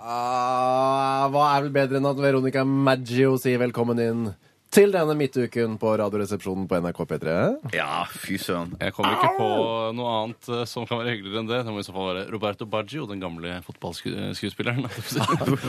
Ah, hva er vel bedre enn at Veronica Maggio sier velkommen inn til denne midtuken på Radioresepsjonen på NRK P3? Ja, fy søren. Jeg kommer ikke på noe annet eh, som kan være hyggeligere enn det. Det må i så fall være Roberto Baggio, den gamle fotballskuespilleren. Han,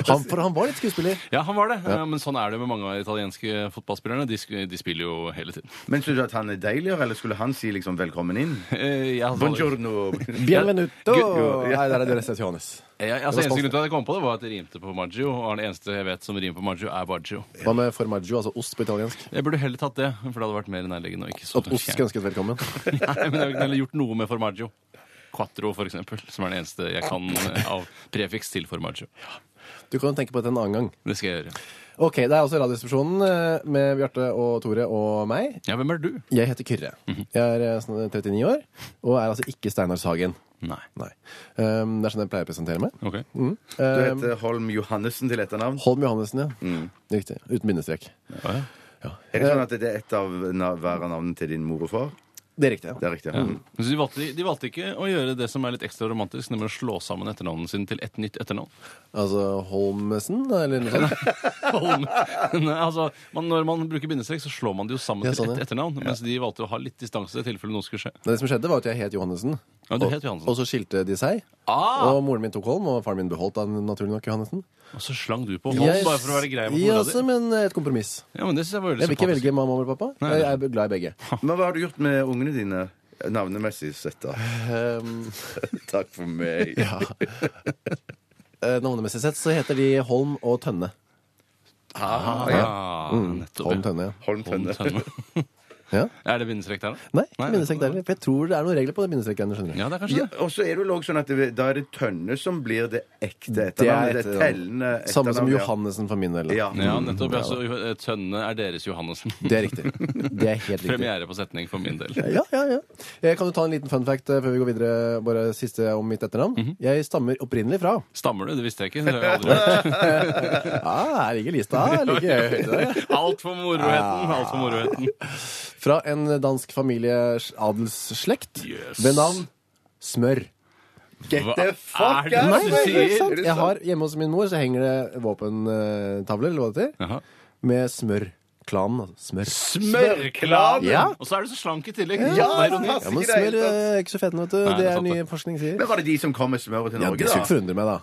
for han var litt skuespiller. Ja, han var det. Eh, Men sånn er det jo med mange av de italienske fotballspillerne. De, sk- de spiller jo hele tiden. Men syns du at han er deiligere, eller skulle han si liksom 'velkommen inn'? Eh, Jeg, Buongiorno. Bienvenuto! Gu- gu- Nei, ja. der er det resepsjones. Jeg, altså, eneste grunn til at jeg kom på det, var at det rimte på Maggio. Og den eneste jeg vet som rimer på Maggio, er Baggio. Hva med formaggio, altså ost på italiensk? Jeg burde heller tatt det, for det hadde vært mer nærliggende. og ikke så At ost skulle ønsket velkommen? Nei, men jeg ville heller gjort noe med Formaggio. Quattro, for eksempel, som er den eneste jeg kan eh, av prefiks til Formaggio. Du kan jo tenke på dette en annen gang. Det skal jeg gjøre. Ok, Det er altså Radioresepsjonen eh, med Bjarte og Tore og meg. Ja, hvem er du? Jeg heter Kyrre. Mhm. Jeg er eh, sånn 39 år og er altså ikke Steinar Sagen. Nei. Mm. Nei. Um, det er sånn jeg pleier å presentere meg. Ok. eh, Du heter Holm Johannessen til etternavn. Holm Johannessen, ja. Mm. Riktig. Uten bindestrek. Ja, ja. Er det sånn at det er ett av na- hver av navnene til din mor og far? Det er riktig. ja. Det er riktig. Mm. Men så De valgte, de valgte ikke å gjøre det som er litt ekstra romantisk, nemlig å slå sammen etternavnene sine til ett nytt etternavn. Altså Holmesen, eller noe sånt? Holm. Nei, altså, man, når man bruker bindestrek, så slår man det jo sammen Ja, til sånn, ett ja. etternavn. Mens de valgte å ha litt distanse i tilfelle noe skulle skje. Men det som skjedde, var at jeg het Johannessen. Ja, du Og- het Johannessen. Og så skilte de seg. Ah! Og moren min tok Holm, og faren min beholdt da naturlig nok Johannessen. Og så slang du på Holm bare for å være grei mot Ja, mora også, di. men eh, et kompromiss. Ja, men det synes jeg var veldig Jeg vil ikke sympatisk. velge mamma eller pappa. Nei, Jeg er glad i begge. Men hva har du gjort med ungene dine? Navnemessig sett, da. Um, Takk for meg. eh, navnemessig sett så heter de Holm og Tønne. Ah, ja. Ah, Mm. Holm nettopp. ja. Tønne, ja. Holm Tønne. Holm Tønne. Ja. Er det bindestrek der, da? Nei, Nei, ikke bindestrek der. For jeg tror det er noen regler på det bindestrekgreiene. skjønner du. Ja, det er kanskje Ja, det. og så er det vel også sånn at det, da er det Tønne som blir det ekte Det etternavnet. Det, et- tellende etternavnet. Samme som ja. Johannessen for min del. da. Ja. Ja, nettopp. Ja, så eh, Tønne er deres Johannessen. Mm. Det er riktig. Det er helt riktig. Premiere på setning for min del. Ja, ja, ja. Jeg kan jo ta en liten fun fact eh, før vi går videre, bare siste om mitt etternavn. Jeg stammer opprinnelig fra Stammer du? Det visste jeg ikke. Det har jeg aldri hørt. ah, Her ligger lista. Her ligger høyt der. Alt for moroheten! Alt for moroheten. Fra en dansk familieadelsslekt Yes. ved navn Smør. Get Hva the er fuck det out! du Er det sier? sant? Jeg har Hjemme hos min mor så henger det våpentavler eller hva det heter, Jaha. med Smør. Klanen, altså. Smør. Smørklaven! Ja. Og så er du så slank i tillegg. Ja, Det Sånn, er ironi. ja. Ja, men Ikke det hele smør eh, er ikke så fett, vet du. Det Nei, det er er sant, nye det. forskning sier. Men var det de som kom med smøret til Ja, Norge, det skulle ikke da? forundre meg, da.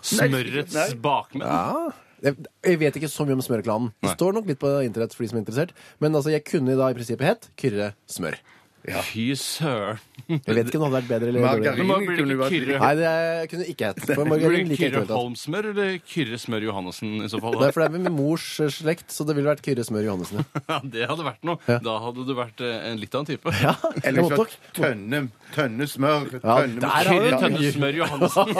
Smørets bakmenn. Ja. Jeg, jeg vet ikke så mye om smørklanen. Det står nok litt på internett for de som er interessert. Men altså, jeg kunne da i prinsippet hett Kyrre Smør. Fy søren. Jeg vet ikke om det hadde vært bedre eller Margarin dårligere. Men hva blir det kunne ikke vært- Kyrre- Nei, det er- jeg kunne ikke hett. For Blir margarin det liker jeg Kyrre ikke helt. Holmsmør eller Kyrre Smør Johannessen i så fall? Det er for det er med mors eh, slekt, så det ville vært Kyrre Smør Johannessen. ja. Ja, det hadde vært noe. Da hadde du vært eh, en litt annen type. Eller Jeg måtte ikke nok- tønne, tønne smør. Ja, Tønne der med- har Kyrre Ja. Tønnesmør Johannessen.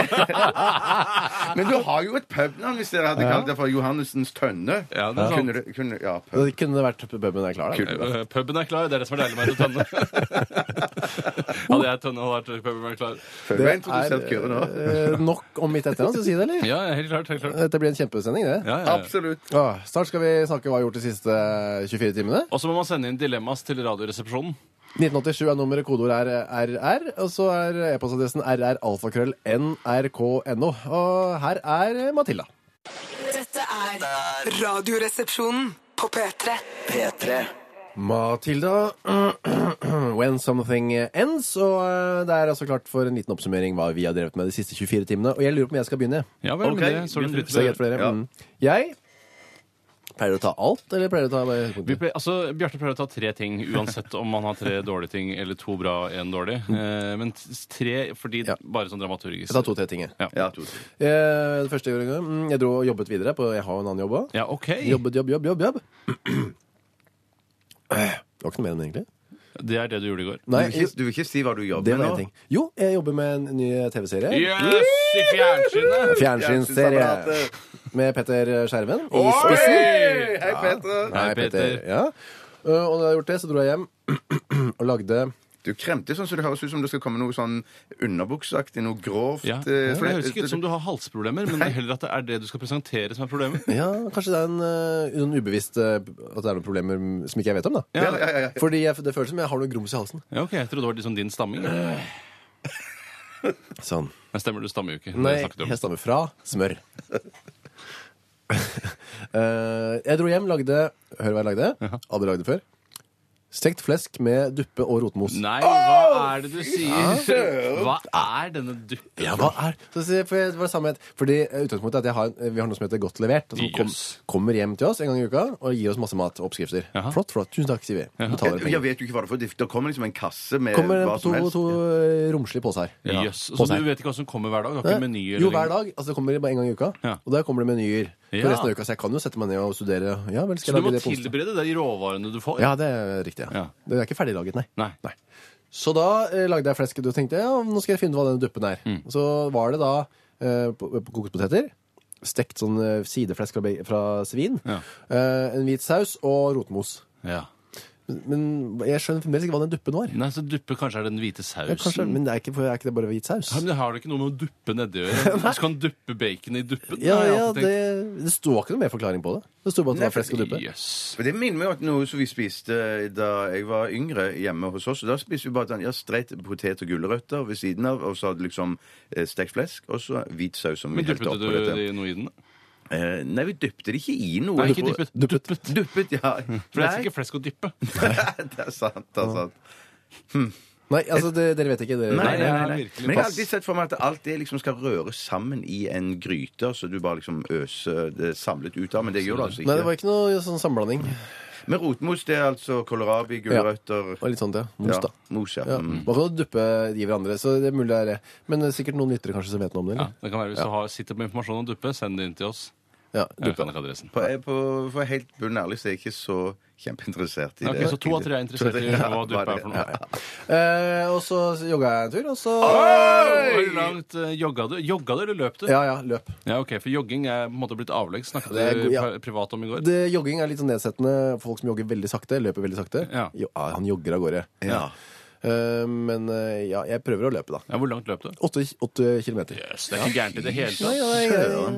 Men du har jo et pubnavn, hvis dere hadde kalt det for Johannessens tønne. Ja, det er sant. Kunne, det- kunne, ja, pub. Det kunne vært puben er klar. Da. Eh, Puben er klar. Det er det som er deilig med å være tønne. Hadde jeg tønne, hadde vært puben vært klar. Før jeg introduserte Kyrre nå. eh, nok om mitt etternavn, skal vi si det, eller? Ja, ja, helt klart. helt klart. Dette blir en kjempesending, det. Ja, ja, ja. Absolutt. Åh, snart skal vi snakke om hva jeg har gjort de siste 24 timene. Og så må man sende inn dilemmas til Radioresepsjonen. 1987 er nummeret, kodeord er RR, og så er e-postadressen rralfakrøll.nrk.no. Og her er Matilda. Dette er Radioresepsjonen på P3. P3. Matilda, when something ends. Og eh, det er altså klart for en liten oppsummering hva vi har drevet med de siste 24 timene. Og jeg lurer på om jeg skal begynne. Ja vel, Ok, men det står det fritt Hvis det er til. greit for dere. Ja. Mm. Jeg pleier å ta alt, eller pleier å ta bare Vi høydepunktet? pleier, altså, Bjarte pleier å ta tre ting, uansett om man har tre dårlige ting eller to bra og én dårlig. Eh, men t- tre fordi Mm. Ja. bare sånn dramaturgisk. Jeg tar to-tre ting. jeg. Ja, to- Eh, Det første jeg gjorde, mm, jeg dro og jobbet videre. På, jeg har jo en annen jobb òg. Ja, OK. Jobbet, jobb, jobb, jobb, jobb. Det var ikke noe mer enn det, egentlig. Det er det du gjorde i går. Nei, Du vil, ikke, du vil ikke si hva du det var jobber med én nå? ting. Jo, jeg jobber med en ny TV-serie. Yes, i fjernsynet! Fjernsynsserie. Fjernsynsapparatet. Med Petter Skjerven i Oi! spissen. Hei, Peter. Nei, Petter. Petter. Ja. Uh, Og da jeg har gjort det, så dro jeg hjem og lagde Du kremter sånn, så det høres ut som det skal komme noe sånn underbukseaktig, noe grovt. Ja. eh, Det høres ikke ut som du har halsproblemer, men heller at det er det du skal presentere som er problemet. Ja, kanskje det er en, uh, en ubevisst uh, At det er noen problemer som ikke jeg vet om, da. ja, ja, ja, ja. Fordi jeg, det føles som jeg har noe grums i halsen. Ja, ok, Jeg trodde det var liksom din stamming. Men Sånn. stemmer, du stammer jo ikke. Nei, Det snakket du om. jeg stammer fra smør. Eh, jeg dro hjem, lagde Hør hva jeg lagde. Aldri lagd det før. Stekt flesk med duppe og rotmos. Nei, hva er det du sier? Hva er denne duppen? Ja, hva er så, sier jeg- for det var det samme het. Fordi eh, utgangspunktet er at jeg har, en- Vi har noe som heter Godt levert, som kom, Jøss. kommer hjem til oss en gang i uka og gir oss masse mat og oppskrifter. Jaha. Flott, flott. Tusen takk, sier vi. Betaler Jeg, jeg penger. vet jo ikke hva det er for. Det det kommer liksom en kasse med Kommer hva en- som to, helst. to eh, romslige poser. Jøss. På Så seg. du vet ikke hva som kommer hver dag? Du har ikke meny? eller jo, noe? hver dag. Altså, det kommer bare en gang i uka. Ja. Og der kommer det menyer for Ja. resten av uka. Så jeg kan jo sette meg ned og studere. Ja, vel, Så skal jeg du må lage det på onsdag? tilberede de råvarene du får? Ja, det er riktig. Ja. Ja. Det er ikke ferdiglaget, nei. Nei. Så da eh, lagde jeg flesket og tenkte ja, nå skal jeg finne ut hva denne duppen er. Så var det da eh, po- kokte poteter, stekt sånn eh, sideflesk fra, be- fra svin, Ja. eh, en hvit saus og rotmos. Ja. Men, men jeg skjønner fremdeles ikke hva den duppen var. Nei, så duppe kanskje er den hvite Ja, kanskje, sausen? men det er, ikke, er ikke det bare hvit saus? Ja, men det har det ikke noe med å duppe nedi å gjøre? Så kan duppe baconet i duppen? Ja, har jeg ja, alltid det, tenkt. det sto ikke noe mer forklaring på det. Det sto bare at det var flesk og duppe. Jøss. For Det minner meg om at noe som vi spiste eh, da jeg var yngre hjemme hos oss. Da spiste vi bare den, ja, streit potet og gulrøtter ved siden av, og så hadde liksom eh, stekt flesk, og så hvit saus som vi Men helte duppet oppå du dette. det i noe i den? Eh, nei, vi dyppet det ikke i noe. Nei, ikke dyppet. Duppet. Duppet. Duppet, ja. For det er ikke flesk å dyppe. Nei, det er sant, det er sant. Nei, altså, det, dere vet ikke. Dere, Nei, nei, nei, det er nei. virkelig Men jeg har pass. alltid sett for meg at alt det liksom skal røres sammen i en gryte, så du bare liksom øser det samlet ut av, men det gjør du altså Nei, det ikke. var ikke noe sånn samblanding. Men rotmos, det er altså kålrabi, gulrøtter Og litt sånt, ja. Mos, Ja, da. Mos, ja. Ja. Mm. Man kan jo duppe de hverandre, så det er mulig det er det. Men det er sikkert noen lyttere kanskje som vet noe om det. Ja, Eller? det kan være Hvis du har, sitter med informasjon om duppe, send det inn til oss. Ja, Jeg duppe. kan ikke adressen. På, jeg- på, for helt bunn ærlig så er jeg ikke så kjempeinteressert i det. Ok, så to av tre er interessert i hva duppe er for noe. Eh, og så jogga jeg en tur, og så Ah! Hvor langt eh, jogga du? Jogga du eller løp du? Ja, ja, løp. Ja, ok, For jogging er på en måte blitt avleggs. Snakket Det er du god- ja. pri- privat om i går? Det, jogging er litt sånn nedsettende. Folk som jogger veldig sakte, løper veldig sakte. Ja. Jo, ah, han jogger av gårde. Ja. Eh, men eh, ja, jeg prøver å løpe, da. Ja, Hvor langt løp du? Åtte, åtte kilometer. Yes, det er ikke gærent i det hele Nei, tatt. nei,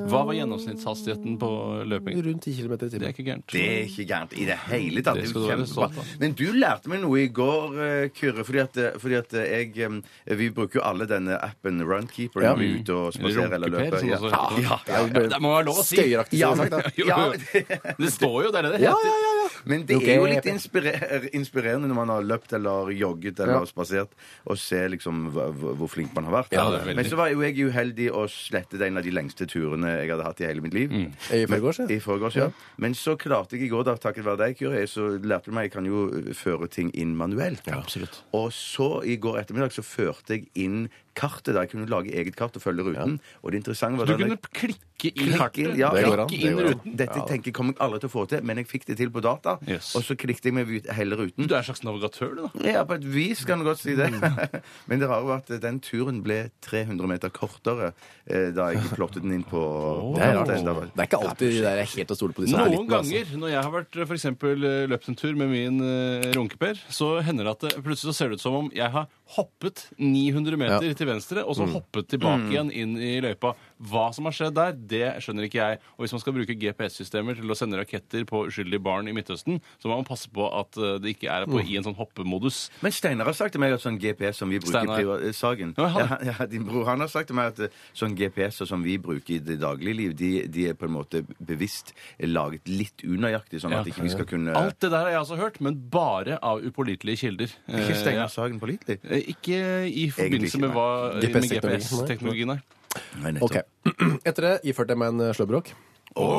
nei, Hva var gjennomsnittshastigheten på løping? Rundt ti kilometer i Det timen. er ikke gærent. Det er ikke gærent i det hele tatt. Det Det er skal du være kjempebra. stolt av. Men du lærte meg noe i går, eh, Kyrre. Fordi at, eh, fordi at eh, jeg eh, Vi bruker jo alle denne appen Runkeeper Ja. når vi er ute og spaserer eller Runkeper, løper. som Ja. også Ja, heter. ja, ja, ja. Ja, det må være lov å si! Skøyeraktig, Ja, som sagt. Da. Jo, Ja, jo. Det står jo, det er det det Ja, heter. ja, ja, ja. Men det er jo litt inspirer inspirerende når man har løpt eller jogget eller Ja. spasert, og ser liksom hva- hvor hvor flink man har vært. Ja, det er veldig. Men så var jo jeg uheldig og slettet en av de lengste turene jeg hadde hatt i hele mitt liv. Mm. I forgårs, ja. I forgårs, ja. Men så klarte jeg i går, da, takket være deg, Kyrre, så lærte du meg jeg kan jo øh, føre ting inn manuelt. absolutt. Og så i går ettermiddag så førte jeg inn kartet. da Jeg kunne lage eget kart og følge ruten. Og det interessante var Du da- kunne klikke inn Klikke kartet. inn, ja. Det går an, Klikke det inn går an. ruten. Dette tenker jeg kommer jeg aldri til å få til, men jeg fikk det til på data. Yes. Og så klikket jeg meg ut hele ruten. Du er en slags navigatør, du, da. Ja, på et vis kan du godt si det. Mm. Men det rare var at øh, den turen ble 300 meter kortere eh, da jeg plottet den inn på Det er på- rart. Det er ikke alltid de der er helt å stole på. disse Noen satellittene, altså. ganger når jeg har vært for eksempel, løpt en tur med min eh, runkeper, så hender det at det, plutselig så ser det ut som om jeg har hoppet 900 meter til venstre, og så hoppet tilbake igjen inn i løypa. Hva som har skjedd der, det skjønner ikke jeg. Og hvis man skal bruke GPS-systemer til å sende raketter på uskyldige barn i Midtøsten, så må man passe på at eh, det ikke er på, i en sånn hoppemodus. Men Steinar har sagt til meg at sånn GPS som vi bruker Steinar. i priva- eh, Sagen Ja, han. ja, han- ja, Din bror han har sagt til meg at eh, sånn GPS-er som vi bruker i det daglige liv, de, de er på en måte bevisst laget litt unøyaktig, sånn at Ja. ikke vi skal kunne Alt det der har jeg altså hørt, men bare av upålitelige kilder. Ikke Eh, Steinar Sagen pålitelig? eh, Ikke i forbindelse ikke, med hva med GPS-teknologi. GPS-teknologien er. Nei, nettopp. Ok. Etter det iførte jeg meg en sløbrok.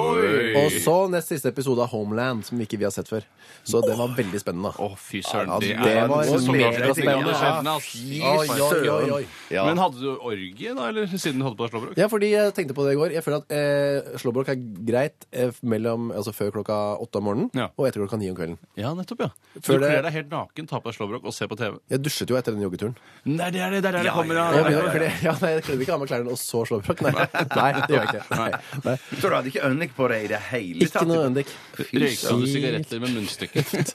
Oi! Og så nest siste episode av Homeland, som ikke vi har sett før. Så det var veldig spennende. Å, fy søren. Ja, Det det er var noe som mer kanskje er spennende. spennende, ass. Oi, oi, oi, oi. Ja. Men hadde du orgie, da, eller siden du holdt på å slå brok? Ja, fordi jeg tenkte på det i går. Jeg føler at eh, slåbrok er greit eh, mellom, altså før klokka åtte om morgenen Ja. og etter klokka ni om kvelden. Ja, nettopp, ja. Du Før det- kler deg helt naken, tar på deg slåbrok og ser på TV. Jeg dusjet jo etter den joggeturen. Nei, det er det, det er der det kommer, Jeg, ja. begynner å kle- ja, nei, jeg kledde ikke av meg klærne og så slåbrok. Nei, nei det gjør jeg ikke. Nei. Nei. Så du hadde ikke ønlik på deg i det hele Ikke noe øyendick. Røyka du sigaretter med munnstykket?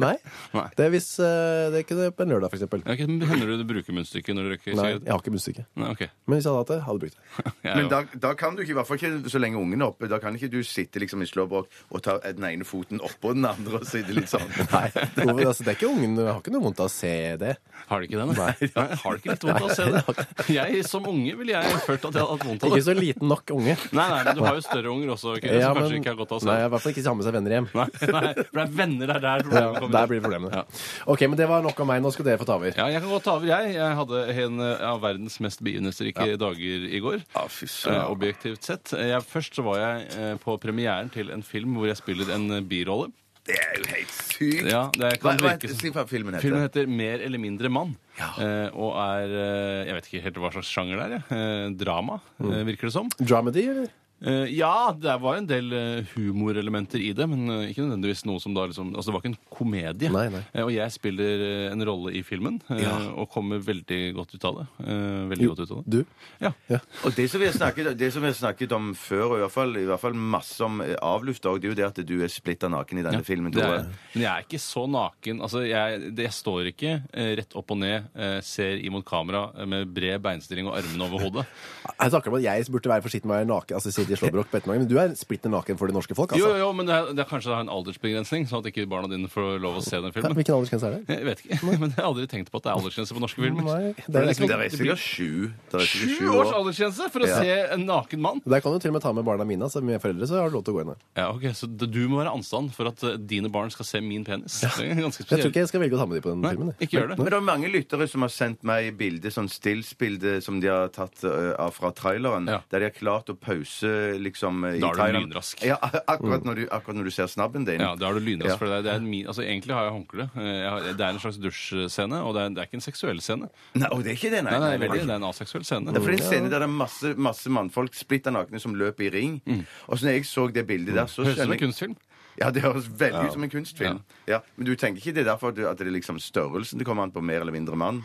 Nei. Nei. Det er hvis eh, Det er ikke det på en lørdag, for eksempel. Ja, ok, men Hender det du bruker munnstykke når du røyker Nei, sigaretter? jeg har ikke munnstykke. Nei, ok. Men hvis jeg hadde hatt det, hadde jeg brukt det. Jeg Men er jo- da, da kan du ikke, i hvert fall ikke så lenge ungen er oppe, da kan ikke du sitte liksom i slåbrok og ta den ene foten oppå den andre og sitte litt sånn. Nei, Hvorfor- altså, det er ikke ungen, jeg har ikke noe vondt av å se det. Har du ikke det? Nei. Nei, har du ikke litt vondt av å se det? Jeg, som unge ville jeg følt at jeg hadde hatt vondt av Ikke det. så liten nok unge. Nei, nei, men du har jo større unger også, ikke? Ja, som kanskje men- ikke har godt av å se Nei, det. i hvert fall ikke sammen med seg venner hjem. Nei, nei, for det er venner det er Ja, der problemet kommer. der blir problemene. Ja. Ok, men det var nok av meg. Nå skal dere få ta over. Ja, jeg kan godt ta over, jeg. Jeg hadde en eh, av verdens mest begivenhetsrike dager i går. Ja, fy eh, søren. objektivt sett. Jeg, først så var jeg eh, på premieren til en film hvor jeg spiller en eh, birolle. Det er jo helt sykt. Ja, det hva, kan hva, virke som- si hva filmen heter. Filmen heter Mer eller mindre mann. eh, Og er eh, Jeg vet ikke helt hva slags sjanger det er. jeg. Eh, Drama, Mm. eh, virker det som. Dramedy, eller? Eh, Ja, det var en del eh, humorelementer i det, men eh, ikke nødvendigvis noe som da liksom Altså, det var ikke en komedie. Nei, nei. Eh, Og jeg spiller eh, en rolle i filmen, eh, og kommer veldig godt ut av det. Eh, Veldig godt ut av det. Du? Ja. Ja. Og det som vi har snakket, det som vi har snakket om før, og i hvert fall, i hvert fall masse om eh, avlufta, og det er jo det at du er splitta naken i denne Ja, filmen. det Tore. er, jeg. men jeg er ikke så naken. Altså, jeg, det- jeg står ikke eh, rett opp og ned, eh, ser imot kamera eh, med bred beinstilling og armene over hodet. Jeg snakker om at jeg burde være forsiktig med å være naken, altså sitte i slåbrok på ettermiddagen, men du er splitter naken for det norske folk, Jo, altså. jo, jo, men det er, det er kanskje det har en aldersbegrensning, sånn at ikke barna dine får lov å se den Ja, filmen. Hvilken aldersgrense er det? Jeg vet ikke, men jeg har aldri tenkt på at det er aldersgrense på norske filmer. Nei, det er For liksom- ikke- Det er sikkert sju. Det er sikkert Sju års aldersgrense for å Ja. se en naken mann! Der kan du til og med ta med barna mine, altså med foreldre, så har du lov til å gå inn der. Ja, ok, Så d- du må være anstand for at eh, dine barn skal se min penis. Det er ganske Jeg tror spesielt. ikke jeg skal velge å ta med de på den filmen. Nei, jeg. ikke gjør det. Men det er mange lyttere som har sendt meg bilder, sånn stillsbilde som de har tatt eh, av fra traileren, Ja. der de har klart å pause liksom eh, i Da er du traileren. lynrask. Mm. Ja, ak- akkurat når, du, akkurat når du ser snabben din. Ja, da er du lynrask. Ja. for det er- det er en min, altså, Egentlig har jeg håndkle. Eh, Jeg har, det er en slags dusjscene, og det er, det er ikke en seksuell scene. Nei, og det er ikke det, nei. Nei, nei, Nei, nei. veldig, det er en aseksuell scene. Det er for det er en scene der det er masse, masse mannfolk splitter nakne som løper i ring. Og så når jeg så det bildet der, så Mm. Høres ut som skjønner en jeg kunstfilm. Ja, det høres veldig ut som en kunstfilm. Ja. Men du tenker ikke det er derfor at du- at det er liksom størrelsen det kommer an på, mer eller mindre mann?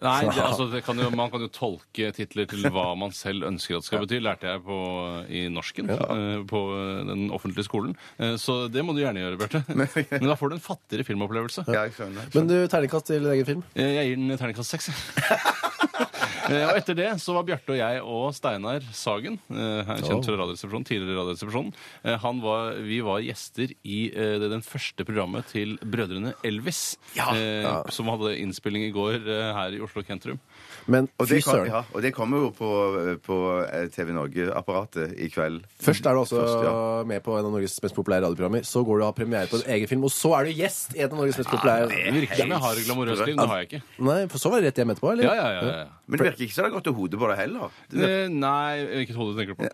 Nei, det, altså, det kan jo, Man kan jo tolke titler til hva man selv ønsker at det skal bety, lærte jeg på, i norsken eh, på den offentlige skolen. Eh, Så det må du gjerne gjøre, Bjarte. Men da får du en fattigere filmopplevelse. Ja, jeg skjønner. Men du, terningkast til din egen film? Eh, Jeg gir den terningkast seks. jeg. Eh, og etter det så var Bjarte og jeg og Steinar Sagen, eh, her kjent fra Radioresepsjonen, tidligere Radioresepsjonen, eh, han var, vi var gjester i eh, det den første programmet til Brødrene Elvis, eh, som hadde innspilling i går eh, her i Oslo Kentrum. Men Og fy det, kom, søren. ja, og det kommer jo på, på eh, TV Norge-apparatet i kveld. Først er du også Først, ja. med på en av Norges mest populære radioprogrammer. Så går du og har premiere på en egen film, og så er du gjest i et av Norges mest Det populære virker som jeg har et glamorøst liv, men det har jeg ikke. Nei, for så var det rett hjem etterpå, eller? Ja, ja, ja, ja, ja. Men det virker ikke som det har gått til hodet på deg heller. Eh, Nei, hvilket hode tenker du på?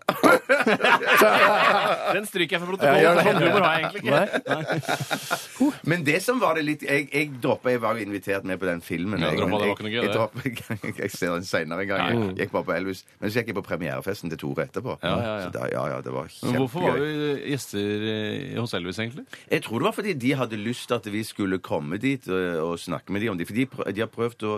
Den stryker jeg fra Ja, protokollen. gjør det. for sånn humor har jeg egentlig ikke. Nei. Men det som var det litt Jeg, jeg droppa Jeg var jo invitert med på den filmen. Ja, jeg, droppet, men det var ikke noe gøy, jeg, det. droppet- jeg ser den seinere en gang. Ja, ja. Jeg gikk bare på Elvis. Men så gikk jeg på premierefesten til Tore etterpå. Ja, ja, ja. Så da, ja, ja, det var Men hvorfor var kjempegøy. vi gjester eh, hos Elvis, egentlig? Jeg tror det var fordi de hadde lyst til at vi skulle komme dit og, og snakke med dem om det. For de, prø- de har prøvd å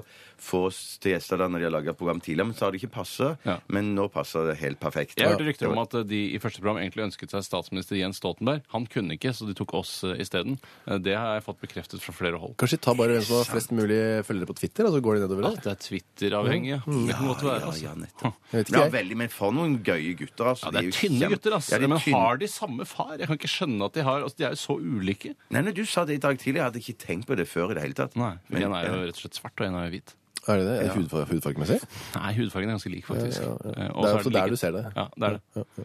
få oss til gjester der når de har laga program tidligere, men så har det ikke passa. Ja. Men nå passer det helt perfekt. Jeg hørte rykter om at eh, de i første program egentlig ønsket seg statsminister Jens Stoltenberg. Han kunne ikke, så de tok oss eh, isteden. Eh, Det har jeg fått bekreftet fra flere hold. Kanskje ta bare hvem som har flest mulig følgere på Twitter, og så går de nedover der. At det er Twitter-avhengig, ja. Det kan godt være. Altså. ja, nettopp. Jeg vet Ja, ikke jeg. veldig, men for noen gøye gutter, altså. Ja, det De er jo tynne kjempe- gutter, altså. Ja, de er Men tynne. har de samme far? Jeg kan ikke skjønne at de har altså, De er jo så ulike. Nei, nei, du sa det i dag tidlig. Jeg hadde ikke tenkt på det før i det hele tatt. Nei, Men- En er jo rett og slett svart, og en er jo hvit. Er det det? Er det hudfar hudfargemessig? Nei, hudfargen er ganske lik, faktisk. Ja, ja, ja. Eh, og Det er så jo også like- der du ser det. Ja, det er det. Ja, ja.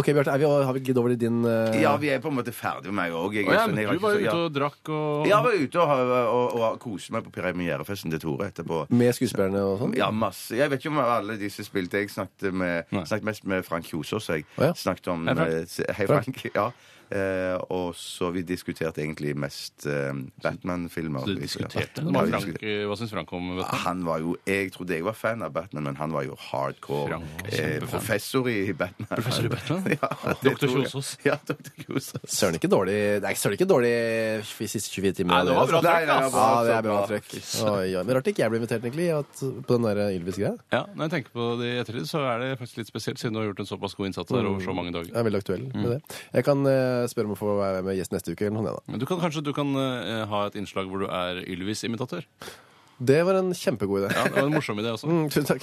Ok, Bjarte, er vi, har vi glidd over i din eh, Ja, vi er på en måte ferdig med meg òg. Å, ja, men du var jo ute og drakk og Ja, jeg var ute og, og, og, og koste meg på premierefesten til Tore etterpå. Med skuespillerne og sånn? Ja, masse. Jeg vet ikke om alle disse spilte. Jeg snakket, med, Nei. snakket mest med Frank Kjosås. Jeg Å, ja. snakket om Hei, Frank. eh, s- Hei, Frank. Ja. Eh, og så vi diskuterte egentlig mest eh, Batman-filmer. Du Vi- diskuterte. Ja, Hva, vi Frank, diskuterte. eh, hva syns Frank om Batman? Han var jo, Jeg trodde jeg var fan av Batman, men han var jo hardcore Frank er eh, kjempefan. professor i Batman. Professor i Batman? ja, det Dr. tror jeg. Kjosås? Ja, Dr. Kjosås. Søren ikke dårlig Nei, søren ikke dårlig de siste 24 timene. Nei, det var altså. bra Nei, nei, ass. bra, Ja, det er bra bra. trøkk. Oi, oi. Men rart ikke jeg ble invitert, egentlig, at, på den der Ylvis-greia. Ja, Når jeg tenker på det i ettertid, så er det faktisk litt spesielt, siden du har gjort en såpass god innsats der over så mange Jeg dager. er veldig aktuell Mm. med det. Jeg kan eh, spørre om å få være med gjest neste uke, eller noe sånt. Men du kan, kanskje du kan eh, ha et innslag hvor du er Ylvis-imitatør? ja, da. Det var en kjempegod idé. Ja, Det var en morsom idé også. Mm, tusen takk.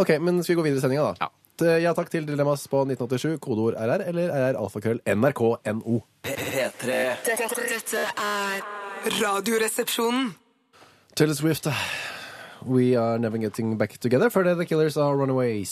Ok, men skal vi gå videre i sendinga, da? Ja. T- Ja, takk til Dilemmas på 1987, kodeord RR eller RR alfakrøll nrk.no. P3 Dette, dette er Radioresepsjonen. Taylor Swift, We Are Never Getting Back Together. Før det, The Killers Are Runaways.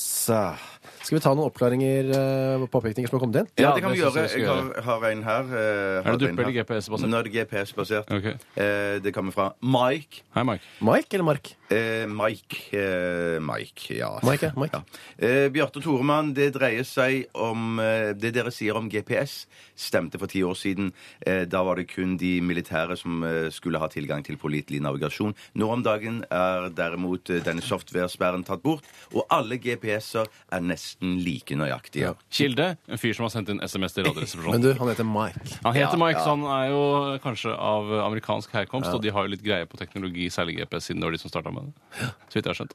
Skal vi ta noen oppklaringer eh, påpekninger som har kommet inn? Ja, Ja, det kan det vi synes gjøre. jeg vi skal Jeg har, har en her. eh, har duppe en her. eller GPS-basert? Nå er det GPS-basert. Ok. Eh, det kommer fra Mike. Hei, Mike. Mike eller Mark? Eh, Mike. Eh, Mike, ja. Mike, ja, Mike. Ja. Eh, Bjarte Toremann, det dreier seg om eh, Det dere sier om GPS, stemte for ti år siden. Eh, da var det kun de militære som eh, skulle ha tilgang til pålitelig navigasjon. Nå om dagen er derimot eh, denne software-sperren tatt bort, og alle GPS-er er nesten like nøyaktige. Kilde, en fyr som har sendt inn SMS til Men Radioresepsjonen. du, han heter Mike. Han heter Mike, så han er jo eh, kanskje av amerikansk herkomst, og de har jo litt greie på teknologi, særlig GPS, siden det var de som starta med det. Så vidt jeg har skjønt.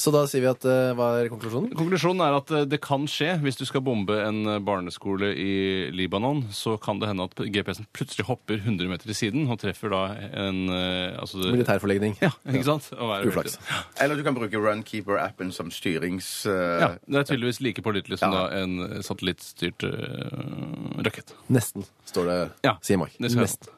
Så da sier vi at eh, hva er konklusjonen? Konklusjonen er at eh, det kan skje. Hvis du skal bombe en eh, barneskole i Libanon, så kan det hende at GPS-en plutselig hopper 100 meter til siden og treffer da en eh, altså, det- Militærforlegning. Ja, ikke sant? Og er- Uflaks. Eller du kan bruke Runkeeper-appen som styrings... eh, Ja, Det er tydeligvis like pålitelig som Ja. da en satellittstyrt eh, rakett. Nesten, står det, Ja, sier Mike. det skal jeg. Nesten.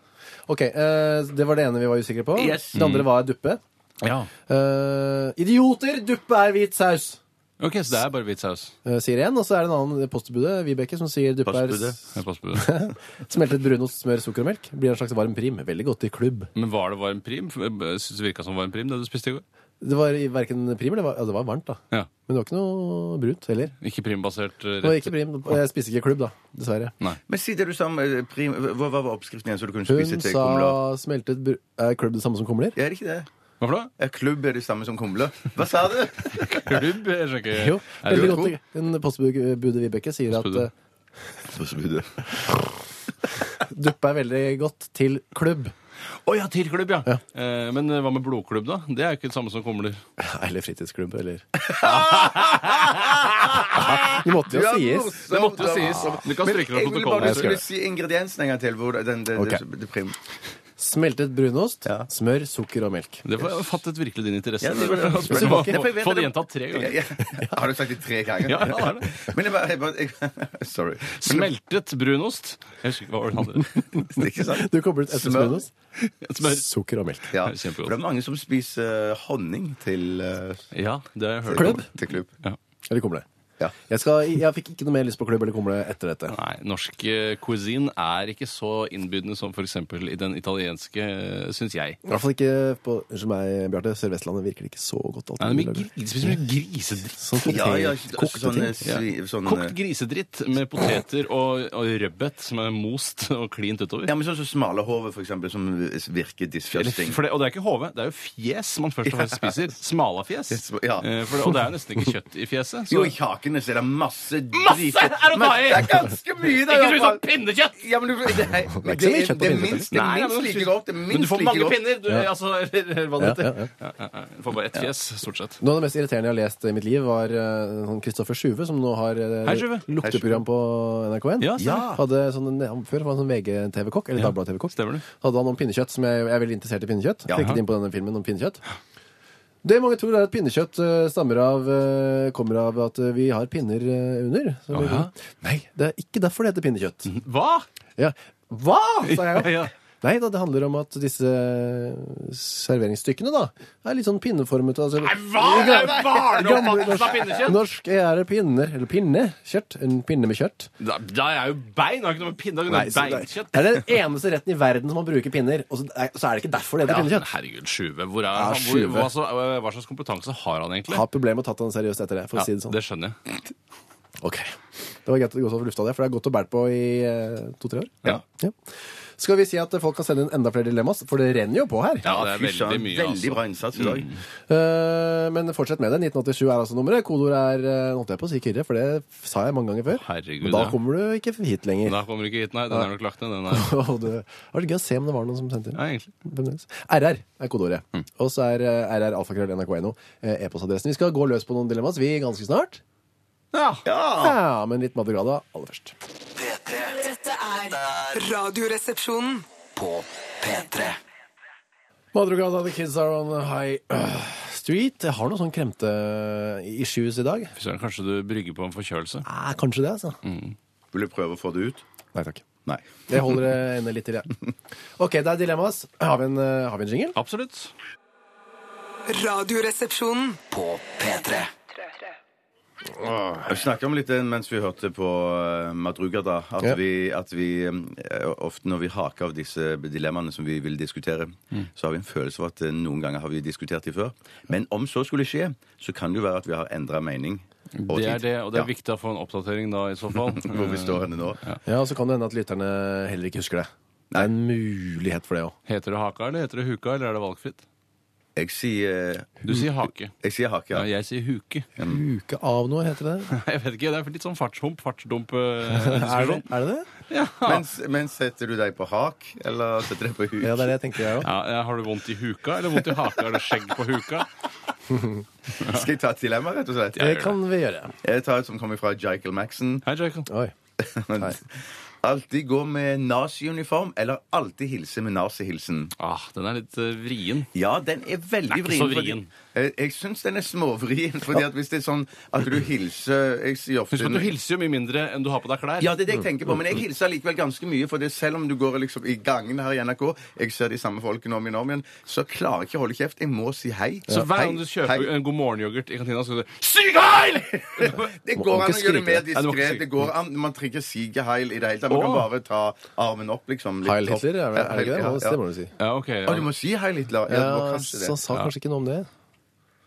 Ok, eh, Det var det ene vi var usikre på. Yes. Det Mm. andre var duppe. Ja. Eh, idioter! Duppe er hvit saus! Ok, Så det er bare hvit saus. eh, sier én, og så er det en annen postbudet, Vibeke, som sier duppe er Postbudet. s- Jeg passer på det. smeltet brunost, smør, sukker og melk. Blir en slags varm prim. Veldig godt i klubb. Men var det varm prim? Syns det virka som varm prim, det du spiste i går? Det var i verken prim eller var- ja, det var varmt, da. Ja. Men det var ikke noe brunt heller. Ikke primbasert eh, Det var rett? ikke prim. og Jeg spiste ikke klubb, da. Dessverre. Nei. Men si det du sa om eh, prim... Hva hva var oppskriften igjen, så du kunne spise Hun til kumler? sa smeltet bru Er klubb det samme som kumler? Ja, Er det ikke det? Hva for noe? Er klubb er det samme som kumler? Hva sa du? Klubb? Jeg skjønner ikke. Jo. Er du Veldig godt. En postbudet Vibeke sier at Postbudet. eh, duppe eh, er veldig godt til klubb. Å ja, til klubb, ja. Eh, men eh, hva med blodklubb, da? Det er jo ikke det samme som kumler. Eller fritidsklubb, eller Det måtte jo Ja, sies. morsomt, Det måtte jo da. sies. Du kan Men stryke det jeg av ville bare protokollen. Jeg skal skulle gjøre det. si ingrediensene en gang til. Hvor den, den, det- Ok. det, det prim. Smeltet brunost, Ja. smør, sukker og melk. Det var, jeg fattet virkelig din interesse. Ja, det var- Få- Men det var ikke- få- Få det gjentatt tre Ja, ganger. ja. Har du sagt det tre ganger? Ja, ja, det er det. Men jeg bare, jeg bare jeg, Sorry. Men, Smeltet brunost. Jeg husker ikke hva var det andre. det er ikke sant? Du koblet etter Smør. brunost, Smør. sukker og melk. Ja. Det er kjempegodt. For Det er mange som spiser eh, honning til, eh, Ja, det har jeg hørt. Klubb? til klubb. Ja. Eller kumle. Ja. Jeg, skal, jeg fikk ikke noe mer lyst på klubb eller kumle etter dette. Nei, norsk eh, cuisine er ikke så innbydende som f.eks. i den italienske, syns jeg. I hvert fall ikke på unnskyld meg, Bjarte, Sør-Vestlandet virker det ikke så godt. Nei, alltid. men gri- de spiser mye grisedritt. Sånn potet, Ja, ja, kokte sånn, eh, ting. svi, sånn, eh, Kokt grisedritt med poteter og, og rødbet som er most og klint utover. ja, men sånn som smalahove, for eksempel, som virker Eller, disgusting. for det, og det er ikke HV, det er jo fjes man først og fremst spiser. Smalafjes. Yes, ja. Eh, for det, og det er jo nesten ikke kjøtt i fjeset. Jo, Så. i kakene så er det masse Masse er å ta Men i! Det er ganske mye, da. i Ikke hvert tro sånn fall. pinnekjøtt! Ja, men du, det, så er, det, mye er, kjøtt på det er pinnekjøttet. minst, det er Nei, ja, minst men- like godt. Det er Men du minst får like mange godt. pinner! Du, altså, eller hva det heter. Ja, ja, Ja, ja, ja. Du får bare ett fjes, stort sett. Noe av det mest irriterende jeg har lest i mitt liv, var eh, Kristoffer Sjuve, som nå har eh, Hei, Sjuve. lukteprogram på NRK1. Ja, stemmer. hadde sånn, en- Før var han sånn VG-TV-kokk, eller Dagbladet-TV-kokk. stemmer det. Hadde han om pinnekjøtt, som jeg, jeg er veldig interessert i pinnekjøtt. Ja. Klikket inn på denne filmen om pinnekjøtt. Det mange tror er at pinnekjøtt eh, stammer av, eh, kommer av at eh, vi har pinner eh, under. Så vi- Å, ja. Nei, det er ikke derfor det heter pinnekjøtt. Hva?! Ja. Hva?! sa jeg. Mhm. Ja. Nei da, det handler om at disse eh, serveringsstykkene da er litt sånn pinneformet. Altså, Nei, hva? Det er barneoppfattelsen av Norsk- pinnekjøtt! Norsk er det pinner, eller pinnekjøtt. En pinne med kjøtt. Da, da er jeg jo bein! Har ikke noe med pinne å gjøre. så det, Beinkjøtt. det er den eneste retten i verden som man bruker pinner, og så, er- så er det ikke derfor det heter Ja, pinnekjøtt. herregud, Sjuve. Hvor er, Ja, hvor, Sjuve. hva, så, hva slags kompetanse har han egentlig? Har problemer med å tatt den seriøst etter det, for Ja, å si det sånn. det skjønner jeg. Ok. Det var greit at det går så for lufta det, for det er godt å bære på i eh, to-tre år. Ja. Skal vi si at folk kan sende inn enda flere dilemmas, for det renner jo på her. Ja, det er Fy veldig søren, Mm. mye, veldig altså. bra innsats i dag. Eh, men fortsett med det. 1987 er altså nummeret. Kodeord er eh, Nå holdt jeg på å si Kyrre, for det sa jeg mange ganger før. Herregud, men da ja. kommer du ikke hit lenger. Da kommer du ikke hit, nei. Den er nok lagt ned, den der. Og det var litt gøy å se om det var noen som sendte inn. Ja, egentlig. Fremdeles. RR er kodeordet. Og så er eh, RR alfakrøll nrk.no eh, e-postadressen. Vi skal gå løs på noen dilemmas, vi, ganske snart. Ja, men litt Madrugada aller først. P3 Dette er Radioresepsjonen. på P3. Madrugada, the kids are on high øh, street. Jeg har noen sånn kremte eh, issues i dag. Fy søren, kanskje du brygger på en forkjølelse? Eh, kanskje det, altså. Vil du prøve å få det ut? Nei takk. Nei. Jeg holder det inne litt til, jeg. OK, det er dilemmas. Har vi en, eh, har vi en jingle? Absolutt. Radioresepsjonen. På P3. Vi snakka om litt det mens vi hørte på eh, Madrugada, at Ja. vi, at vi eh, ofte når vi haker av disse dilemmaene som vi vil diskutere, Mm. så har vi en følelse av at eh, noen ganger har vi diskutert de før. Men om så skulle skje, så kan det jo være at vi har endra mening. over Det er tid. det, og det er Ja. viktig å få en oppdatering da, i så fall. Eh, Hvor vi står henne nå. Ja, og så kan det hende at lytterne heller ikke husker det. Det er en mulighet for det òg. Heter det haka, eller heter det huka, eller er det valgfritt? Jeg sier, eh, Du sier hake. jeg sier hake. Ja, Ja. jeg sier huke. Uke av noe, heter det. Jeg vet ikke, det er litt sånn fartshump, eh. fartsdump-diskusjon. Er det det? Men, men setter du deg på hak, eller setter du deg på huk? Ja, det er det jeg tenker jeg òg. Ja, ja, har du vondt i huka, eller vondt i haka? Er det skjegg på huka? Skal jeg ta et dilemma, rett og slett? Det kan vi gjøre. Jeg tar et som kommer fra Jikel Maxon. Hei, Jacob. Oi. Alltid gå med naziuniform, eller alltid hilse med nazihilsen. Ah, den er litt eh, vrien. Ja, den er veldig Den er ikke vrien. så fordi- vrien. Eh, Jeg syns den er småvrien, fordi at hvis det er sånn at du hilser Jeg sier ofte Husk at du hilser jo mye mindre enn du har på deg klær. ja, det er det jeg tenker på, men jeg hilser likevel ganske mye. For det selv om du går liksom i gangene her i NRK, jeg ser de samme folkene om igjen og om igjen, så klarer jeg ikke å holde kjeft. Jeg må si hei. Så hver Hei, gang du kjøper hei. en God morgen-yoghurt i kantina, skal du Sig heil! Det Må- går må an å ikke skrike. gjøre det mer Nei, du må ikke diskré. skrike. Det går an, Man trenger ikke sige heil i det hele tatt. Man kan Åh. bare ta armen opp, liksom. litt Heil opp. Hitler, er det, er det ikke det? Ja, Det må du ja. si. Ja, ok. Å, Ja. du må si heil Hitler. Ja, Ja, det var kanskje det. så han sa kanskje ikke noe om det.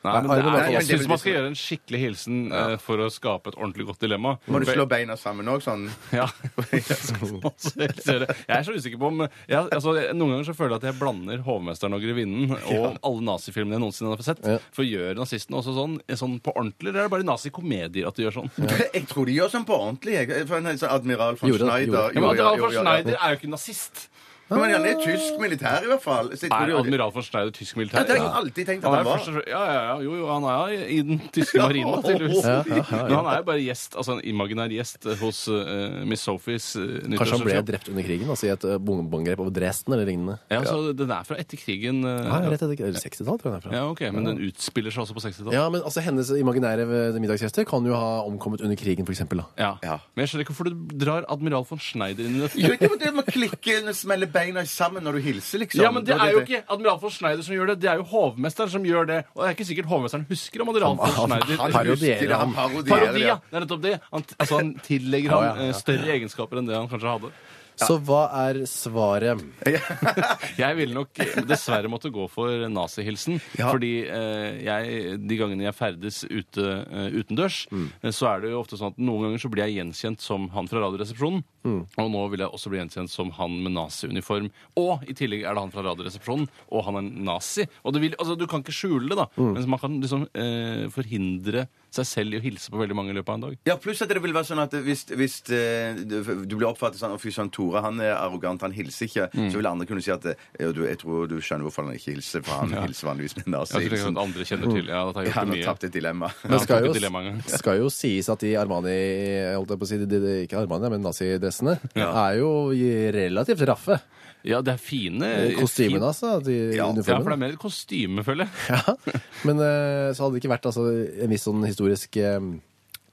Nei, men Nei, det men er, det- jeg syns man skal gjøre en skikkelig hilsen eh, for å skape et ordentlig godt dilemma. Må du slå beina sammen òg, sånn? Ja. Altså, Jeg ser det. Jeg er så usikker på om jeg, altså, jeg- Noen ganger så føler jeg at jeg blander 'Hovmesteren og grevinnen' og alle nazifilmene jeg noensinne har sett. Ja. For gjør nazistene også sånn, sånn på ordentlig, eller er det bare i nazikomedier at de gjør sånn? Jeg tror de gjør sånn på ordentlig. jeg. For en sånn Admiral von Gjorde det, Schneider gjorde Ja, men Admiral jo, ja, von ja. Schneider er jo ikke nazist. Ja, Men han er tysk militær, i hvert fall. Så jeg tror de Er gjør det. Admiral von Schneider tysk Ja, militær? det har jeg alltid tenkt at Han er han var. først, og fremst- ja, ja, ja, jo, jo, han er i i den tyske marinen, da, tydeligvis. Ja, ja, ja, ja. Men han er jo bare gjest, altså en imaginær gjest eh, hos eh, Miss Sophies uh, Kanskje han ble drept under krigen, altså i et eh, bombeangrep over Dresden eller lignende. Ja, så Den er fra etter krigen. eh, Nei, rett etter eller 60-tallet, tror jeg det er fra. Ja, ok, Men den utspiller seg også på 60-tallet? Ja, men altså hennes imaginære eh, middagsgjester kan jo ha omkommet under krigen, for eksempel, da. Ja. Ja. Men jeg skjønner ikke hvorfor du drar Admiral von Schneider inn i dette. Jo, det var det med å klikke og smelle beina sammen når du hilser, liksom. Ja, men Det var er jo ikke Admiral von Schneider som gjør det, det er jo hovmesteren som gjør det. Og det er ikke sikkert hovmesteren husker om Admiral von Han- Schneider. han- Han husker det, Parodierer han. han parodierer Parodi, det. ja! Det er nettopp det. Han, altså, han tillegger Ja, han ja, ja. eh, større egenskaper enn det han kanskje hadde. Så hva er svaret? Jeg ville nok eh, dessverre måtte gå for nazihilsen. Fordi eh, jeg, de gangene jeg ferdes ute eh, utendørs, Mm. eh, så er det jo ofte sånn at noen ganger så blir jeg gjenkjent som han fra Radioresepsjonen. Mm. Og nå vil jeg også bli gjenkjent som han med naziuniform. Og i tillegg er det han fra Radioresepsjonen, og han er nazi. Og det vil, altså, du kan ikke skjule det, da. Mm. Men man kan liksom eh, forhindre seg selv i å hilse på veldig mange i løpet av en dag. Ja, pluss at det vil være sånn at hvis, hvis eh, du du blir oppfattet sånn «Å, Fy søren, Tore han er arrogant, han hilser ikke. Mm. Så vil andre kunne si at eh, «Ja, du, jeg tror du skjønner hvorfor han ikke hilser, for han hilser vanligvis med Jeg tror nazihilsen. at andre kjenner til ja, at jeg Ja, han har gjort har det mye. tapt et dilemma. Det Ja, skal han tok et dilemma en jo, gang. skal jo sies at de Armani, holdt jeg på å si, de, de, de- ikke Armani, men nazidressene, er jo i- relativt raffe. Ja, det er fine Kostymene, altså. De, Ja, Eh, Ja, for det uniformen. er mer et kostyme, føler jeg. Ja. Men eh, så hadde det ikke vært altså, en viss sånn historisk eh,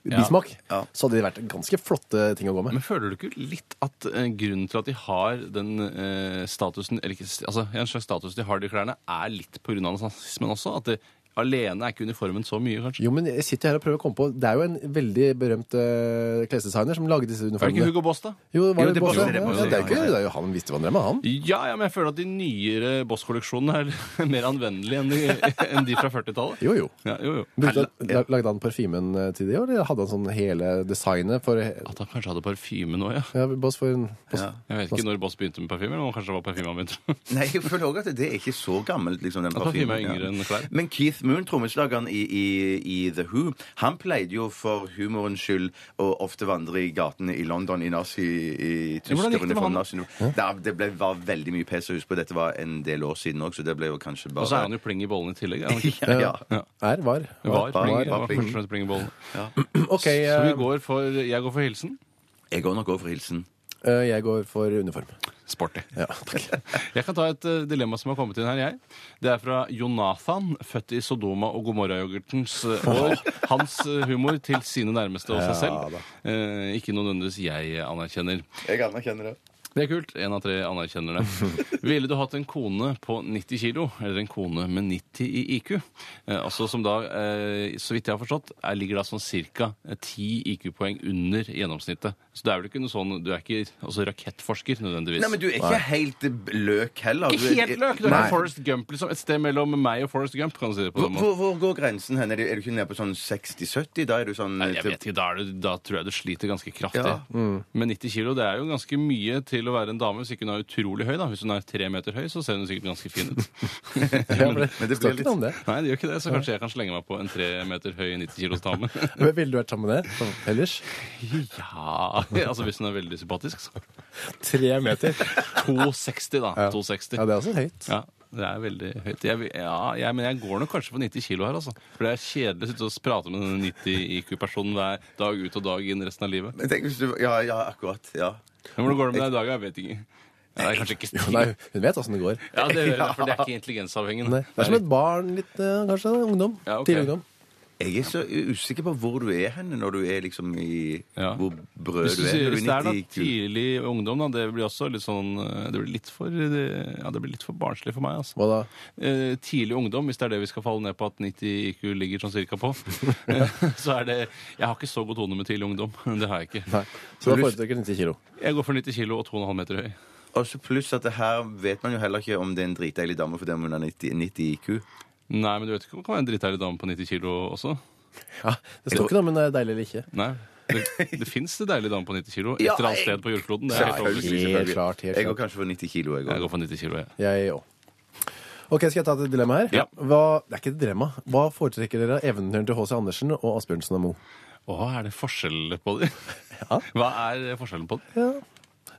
bismak, Ja. så hadde de vært ganske flotte ting å gå med. Men føler du ikke litt at eh, grunnen til at de har den eh, statusen, eller ikke, altså en slags status de har de klærne, er litt på grunn av nazismen også? At det, alene er ikke uniformen så mye, kanskje? Jo, men jeg sitter her og prøver å komme på Det er jo en veldig berømt eh, klesdesigner som lagde disse Er det ikke uniformene. Hugo Boss, da? Jo, det var Jo, jo det Boss, var- ja. det var- Ja, det er jo ikke det er jo han visste hva han drev med, han. Ja, ja, men jeg føler at de nyere Boss-kolleksjonene er mer anvendelige enn de, enn de fra 40-tallet. Jo, jo. Ja, jo, jo. Brukte, han- lagde han parfymen eh, til det, eller hadde han sånn hele designet for ja, At han kanskje hadde parfyme nå, ja. Boss for en Boss. Jeg vet ikke når Boss begynte med parfyme. eller om kanskje det var parfyme han begynte med. Nei, jeg føler også at det er ikke så gammelt. liksom, den At parfyme parfymen, er yngre enn klær. Men Keith Moon, trommeslageren i, i, i The Who, han pleide jo for humorens skyld å ofte vandre i gatene i London i nazi... i Ja, hvordan gikk det med tyskeruniform, han? nazi- Da- Det ble, var veldig mye pes. og Husk på, dette var en del år siden òg, så det ble jo kanskje bare Og så er han jo pling i bollen i tillegg. Er han ikke? ja, ja. Er, var. Var, pling, var- var, pling. først og fremst pling i bollen. OK, Så vi eh, går for, jeg går for hilsen. Jeg går nok over for hilsen. eh, jeg går for uniform. Sporty. Ja, takk. Jeg kan ta et eh, dilemma som har kommet inn her, jeg. Det er fra Jonathan, født i Sodoma og Gomorra-yoghurtens eh, år. Hans eh, humor til sine nærmeste og seg selv. Eh, ikke noe nødvendigvis jeg anerkjenner. Jeg anerkjenner det. Det er kult. Én av tre anerkjenner det. Ville du hatt en kone på 90 kilo, eller en kone med 90 i IQ? Eh, altså Som da, eh, så vidt jeg har forstått, er, ligger da sånn ca. 10 IQ-poeng under gjennomsnittet. Så det er vel ikke noe sånn, du er ikke altså, rakettforsker nødvendigvis. Nei, men du er ikke helt eh, løk heller. Ikke Du er- helt løk! Du er Nei. Forrest Gump, liksom. Et sted mellom meg og Forrest Gump, kan du si det på Hvor, den måten. hvor, hvor går grensen hen? Er du, er du ikke nede på sånn 60-70? Da er du sånn Nei, jeg vet ikke, da, er du, da tror jeg du sliter ganske kraftig. Ja. mm. Men 90 kilo det er jo ganske mye til å være en dame hvis ikke hun er utrolig høy. da. Hvis hun er tre meter høy, så ser hun sikkert ganske fin ut. Ja, men, Men det står ikke ble litt- noe om det. Nei, det gjør ikke det, så kanskje jeg kan slenge meg på en tre meter høy 90 kilos dame. Men Ville du vært sammen med det sånn ellers? Ja, altså Hvis hun er veldig sympatisk, så. Tre meter. 260, da. 260. Ja, det er også høyt. Ja, det er veldig høyt. Jeg, vil- ja, jeg, men jeg går nok kanskje for 90 kilo her, altså. For det er kjedelig å sitte og prate med denne 90 IQ-personen hver dag ut og dag inn resten av livet. Men tenk hvis du, ja, ja, akkurat. Ja. Men hvordan går det med deg i dag? Jeg vet ikke. Ja, det er kanskje ikke Jo, nei, hun vet åssen det går. Ja, det, gjør jeg, for det er ikke intelligensavhengig. Nei, det er som et barn, litt eh, kanskje. Ungdom. Ja, ok. Tidlig ungdom. Jeg er så usikker på hvor du er hen når du er liksom i Ja. Hvor brød Hvis du er. du sier Når hvis det er du da er 90 kul. tidlig ungdom, da, det blir også litt sånn eh, Det blir litt for, eh, ja, det blir litt for barnslig for meg, altså. Hva da? Eh, tidlig ungdom, hvis det er det vi skal falle ned på at 90 IQ ligger sånn cirka på, eh, så er det Jeg har ikke så god tone med tidlig ungdom. Det har jeg ikke. Nei. Så da foretrekker 90 kilo. Jeg går for 90 kilo og 2,5 meter høy. Og så pluss at det her vet man jo heller ikke om det er en dritdeilig dame fordi hun har 90, 90 IQ. Nei, men du vet ikke om det kan være en dritteilig dame på 90 kilo også? Ja, det står ikke noe om hun er deilig eller ikke. Nei. Det, det fins det deilige damer på 90 kilo et Ja, eller annet jeg- sted på jordkloden. Det er helt Selvfølgelig, overbevist. selvfølgelig. Helt klart, helt Jeg går klart. kanskje for 90 kilo. Jeg Jeg går. går for 90 kilo, jeg. Jeg òg. Ok, Skal jeg ta et dilemma her? Ja. Hva, det er ikke et dilemma. Hva foretrekker dere av eventyrene til H.C. Andersen og Asbjørnsen og Moe? Å, er det forskjell på dem? Ja. Hva er forskjellen på dem?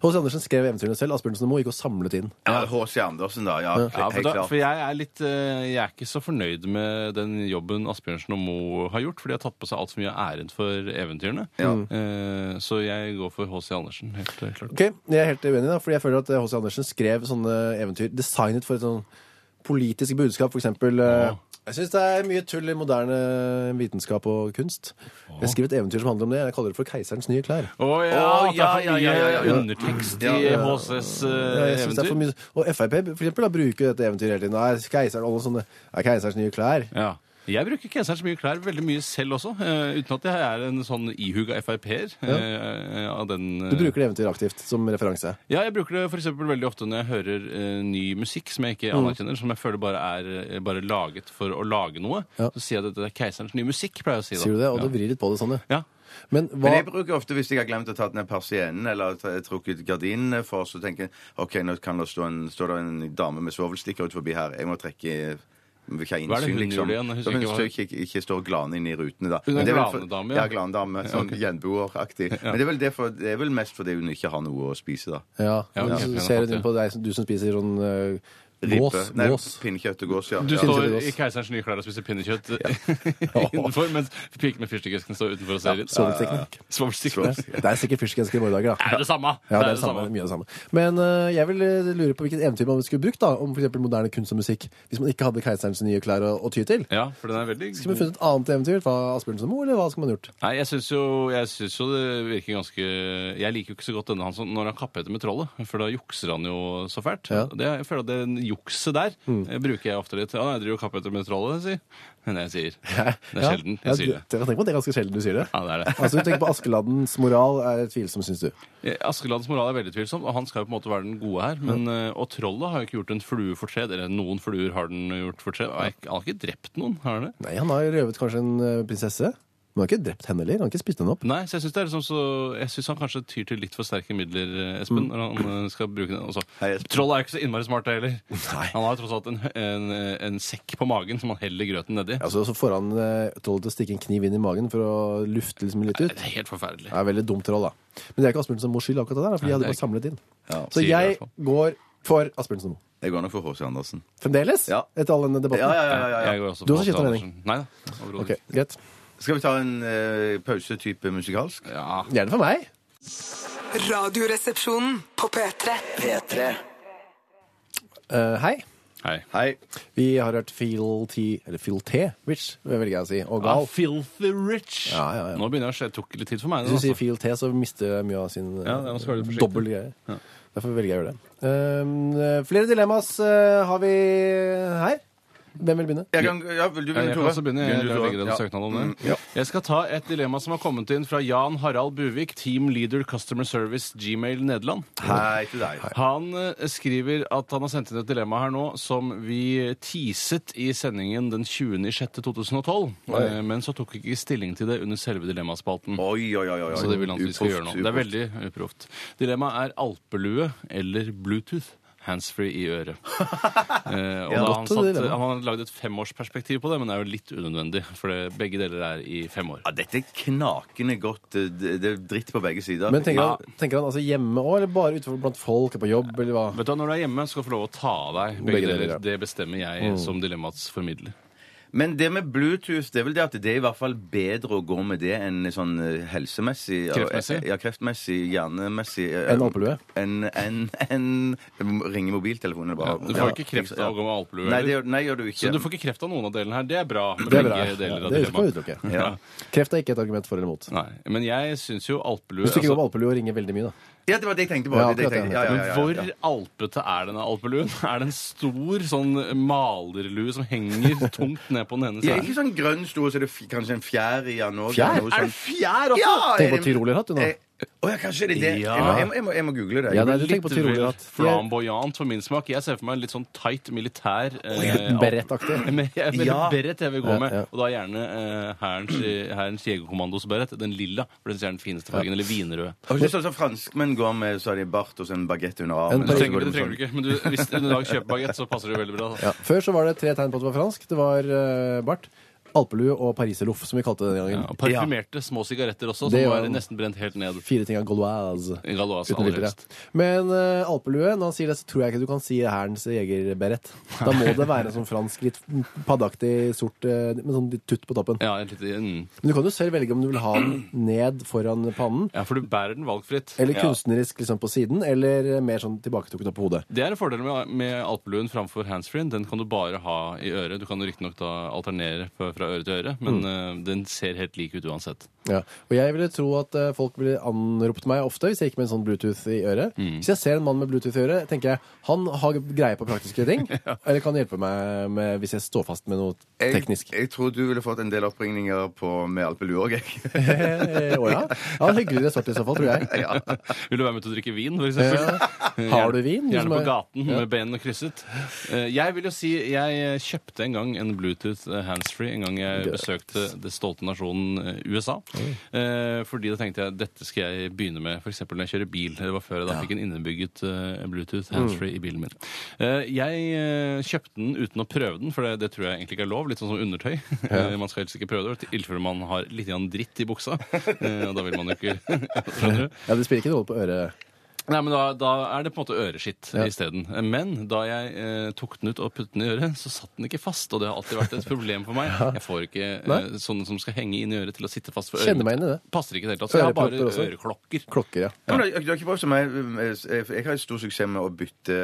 H.C. Andersen skrev eventyrene selv. Asbjørnsen og Moe gikk og samlet inn. Ja, H.C. Andersen, da. Ja, Ja, for, helt da, klart. for jeg er litt eh, Jeg er ikke så fornøyd med den jobben Asbjørnsen og Moe har gjort, for de har tatt på seg altfor mye av æren for eventyrene. Eh, så jeg går for H.C. Andersen, helt eh, klart. Ok, Jeg er helt uenig, da, fordi jeg føler at H.C. Andersen skrev sånne eventyr designet for et sånn politisk budskap. For eksempel, eh, Jeg syns det er mye tull i moderne vitenskap og kunst. Jeg skriver et eventyr som handler om det. Jeg kaller det for 'Keiserens nye klær'. Å ja, Å, at det er for ja, ja, mye ja, ja, ja. undertekst i Ja, ja. HCs eh, Jeg synes det er eventyr. for mye- Og Frp for eksempel, da, bruker dette eventyret hele tiden. Nei, keiseren, alle sånne, nei, 'Keiserens nye klær'. Ja. Jeg bruker keserens mye klær veldig mye selv også, eh, uten at jeg er en sånn ihuga Frp-er. eh, av den, eh, Du bruker det eventyret aktivt som referanse. Ja, jeg bruker det for eksempel veldig ofte når jeg hører eh, ny musikk som jeg ikke Mm. anerkjenner, som jeg føler bare er eh, bare laget for å lage noe. Ja. Så sier jeg at det er keiserens nye musikk, pleier jeg å si da. Sier du det? Og du ja. vrir litt på det sånn, Ja. Men hva Men jeg bruker ofte, hvis jeg har glemt å ta ned persiennen eller ta- trukket gardinene for, så tenker jeg OK, nå kan det stå en, står det en dame med svovelstikker ut forbi her. Jeg må trekke vil ikke ha Hva er det innsyn, hun liksom. gjorde igjen? Jeg husker Hun ikke hva- står ikke, ikke står glane inn i rutene, da. Hun er Men det vel for- glanedame, ja. ja. Glandame. Sånn gjenboeraktig. Men det er, vel det, for, det er vel mest fordi hun ikke har noe å spise, da. Ja, Ja, men ok, så jeg ser har fått hun på deg, som- du som spiser sånn øh, Ribbe. Gås, Nei, gås. pinnekjøtt og gås, ja. Du ja. Pinnekjøtt står og i gås. Keiserens nye klær og spiser pinnekjøtt innenfor, mens piken med fyrstikkesken står utenfor og ser eh, inn. Svovelteknikk. Svovelstikkene. Det er sikkert fyrstikkgenser i våre dager, da. Er det det samme? Ja, det er det samme, mye av det samme. Men eh, jeg vil eh, lure på hvilket eventyr man skulle brukt da, om for eksempel moderne kunst og musikk, hvis man ikke hadde keiserens nye klær å, å ty til. Ja, for den er veldig Skulle man funnet et annet eventyr fra Asbjørnsen og Moe, eller hva skulle man gjort? Nei, jeg syns jo, jeg synes jo det virker ganske Jeg liker jo ikke så godt denne han som når han kappheter med trollet, for da jukser han jo så fælt. Ja. Det, jeg føler at den jukset der eh, bruker jeg ofte litt. Ja, nei, jeg driver og kappheter med trollet, jeg sier. Men jeg sier. Det er sjelden jeg sier det. Tenk på at det er ganske sjelden du sier det. Ja, det er det. Altså, du tenker på Askeladdens moral er tvilsom, syns du. Eh, Askeladds moral er veldig tvilsom, og han skal jo på en måte være den gode her. Men, eh, Og trollet har jo ikke gjort en flue fortred, eller noen fluer har den gjort fortred. Han har ikke- han har ikke drept noen, har han det? Nei, han har røvet kanskje en eh, prinsesse. Men han har ikke drept henne heller. Han har ikke spist henne opp. Nei, så jeg syns liksom så, jeg synes han kanskje tyr til litt for sterke midler, eh, Espen, når han eh, skal bruke den. Og så- Hei, Espen. Trollet er jo ikke så innmari smart, det heller. Han har jo tross alt en, en, eh, en sekk på magen som han heller grøten nedi. Altså, så får han eh, trollet til å stikke en kniv inn i magen for å lufte liksom litt Det ut. er helt forferdelig. Det er veldig dumt troll, da. Men det er ikke Asbjørnsen og Moes skyld, akkurat det der, for de hadde det bare samlet inn. Så sier de i jeg hvert fall. går for Asbjørnsen og Moe. Jeg går nok for H.C. Andersen. Fremdeles? Ja. Etter all denne Ja, debatten? ja, ja, ja, ja. Jeg går også Du for har også Hans skiftet Andersen. Nei da. overhodet Ok, ikke. greit. Skal vi ta en eh, pausetype musikalsk? Ja. Gjerne for meg. Radioresepsjonen på P3. P3. Eh, hei. Hei. Hei. Vi har hørt Feel T, eller Feel T, Rich, velger jeg å si, og Ah, Gal. filthy rich! Ja, ja, ja. Nå begynner jeg å se. Det tok litt tid for meg. Hvis nå, du sier altså. Feel T, så mister jeg mye av sin Ja, det er- nå skal du være eh, forsiktig. dobbel greie. Derfor velger jeg å gjøre det. Um, eh, flere dilemmas eh, har vi her. Hvem vil begynne? Jeg kan, ja, vil du Ja, begynne, Jeg kan Tore? også begynne. Begynn Jeg du, jeg Tore. legger en Ja. søknad om det. Mm, ja. Jeg skal ta et dilemma som har kommet inn fra Jan Harald Buvik, Team Leader Customer Service, Gmail Nederland. Hei til deg. Han eh, skriver at han har sendt inn et dilemma her nå som vi teaset i sendingen den 20.06.2012, eh, men så tok vi ikke stilling til det under selve dilemmaspalten. Oi, oi, oi. oi. Så det vil han at vi skal gjøre nå. Det er uproft. veldig uproft. Dilemmaet er alpelue eller Bluetooth. Handsfree i øret. Eh, og da har han, Godt satt, dilemma. han har lagd et femårsperspektiv på det, men det er jo litt unødvendig. For det, begge deler er i fem år. Ja, dette er knakende godt. eh, Det det er dritt på begge sider. Men tenker han, tenker han altså hjemme òg, eller bare utenfor blant folk og på jobb, eller hva? Vet du, hva, Når du er hjemme, skal du få lov å ta av deg begge, Begge deler, deler. ja. Det bestemmer jeg som dilemmaets formidler. Men det med Bluetooth, det er vel det at det er i hvert fall bedre å gå med det enn sånn eh, helsemessig ja, eh, Kreftmessig? Ja, kreftmessig, hjernemessig eh, En alpelue? Enn en, en, ringe mobiltelefonen. Bare. Du får ikke kreft av å gå med alpelue. Nei, det eller? gjør, nei, gjør du ikke. Så du får ikke kreft av noen av delene her. Det er bra. med Det er bra. begge Ja, deler av det kan vi dilemmaet. utelukke. ja. Kreft er ikke et argument for eller mot. Nei, Men jeg syns jo alpelue Hvis du ikke altså- går med alpelue og ringer veldig mye, da. ja, det var det jeg tenkte på. Ja, det er det jeg akkurat tenkte. Ja, ja, ja, ja, ja. Men hvor alpete er denne alpeluen? Er det en stor sånn malerlue som henger tungt ned på den ene Ja, siden? ikke sånn grønn stor, så det er f- kanskje en fjær i den òg. Fjær? Er det fjær også? sånn- Ja! Eh, Tenk på tyrolerhatt, du nå. Å ja, kanskje det er det. Ja. Jeg, må, jeg, må, jeg, må, jeg må google det. Ja, nei, du Litt tenker på vel tyrolerhatt. flamboyant for min smak. Jeg ser for meg en litt sånn tight militær eh, Ja, Berettaktig. alp- Men jeg- men Ja. Beret jeg vil gå med. Ja, ja. Og da gjerne eh, Hærens Hærens jegerkommandos beret. Den lilla, for den er den fineste fargen. Eller vinrød. Har ikke sånn som franskmenn går med, så har de bart og så en bagett under armen. En Du og så trenger, går de med det trenger du sånn- ikke, men du, hvis du en dag kjøper bagett, så passer det veldig bra. Da. Ja. Før så var det tre tegn på at det var fransk. Det var eh, bart, alpelue og pariserloff, som vi kalte det den gangen. Ja, og parfymerte små sigaretter også, som Det var var jo- nesten brent helt ned. Fire ting av gauloise. I Galoise, Uten aller briller, helst. ja. Men eh, alpelue, når han sier det, så tror jeg ikke du kan si hærens jegerberett. Da må det være en sånn fransk, litt paddaktig, sort eh, med sånn litt tutt på toppen. Ja, en liten- mm. Men du kan jo selv velge om du vil ha den ned foran pannen, ja, for du bærer den valgfritt. eller ja. kunstnerisk liksom på siden, eller mer sånn tilbaketrukket opp på hodet. Det er en fordel med, med alpeluen framfor handsfree. Den kan du bare ha i øret. Du kan jo riktignok da alternere på, fra øre til øre, men Mm. eh, den ser helt lik ut uansett. Ja. Og jeg ville tro at eh, folk ville anropt meg ofte hvis jeg gikk med en sånn Bluetooth i øret. Hvis jeg ser en mann med Bluetooth i øret, tenker jeg han har greie på praktiske ting, eller kan hjelpe meg med, hvis jeg står fast med noe teknisk. sånn- Jeg, jeg tror du ville fått en del oppringninger på med alpelue òg, jeg. Eh, Å ja. ja. Hyggeligere svart i så fall, tror jeg. ja. Vil du være med til å drikke vin, for eksempel? Har du vin? Du Gjerne som på er- gaten med benene krysset. Eh, Jeg vil jo si jeg kjøpte en gang en Bluetooth eh, handsfree en gang jeg besøkte det stolte nasjonen eh, USA. Eh, Fordi da tenkte jeg dette skal jeg begynne med f.eks. når jeg kjører bil. Det var før jeg da fikk en innebygget eh, Mm. Bluetooth handsfree i bilen min. Eh, Jeg eh, kjøpte den uten å prøve den, for det, det tror jeg egentlig ikke er lov. Litt sånn som undertøy. Eh, Man skal helst ikke prøve det, i tilfelle man har litt grann dritt i buksa. Eh, Og da vil man jo ikke Skjønner du? Ja, Det spiller ikke noe rolle på øret. Nei, men da, da er det på en måte øreskitt isteden. Men da jeg eh, tok den ut og puttet den i øret, så satt den ikke fast. Og det har alltid vært et problem for meg. Jeg får ikke Nei. eh, sånne som skal henge inn i øret til å sitte fast for øret. Kjenner meg inn i det. Passer ikke i det hele tatt. Så jeg har Ørepropper bare også. øreklokker. Klokker, ja. Ja. men du har- du har ikke prøvd eh, som meg. Jeg jeg har jo stor suksess med å bytte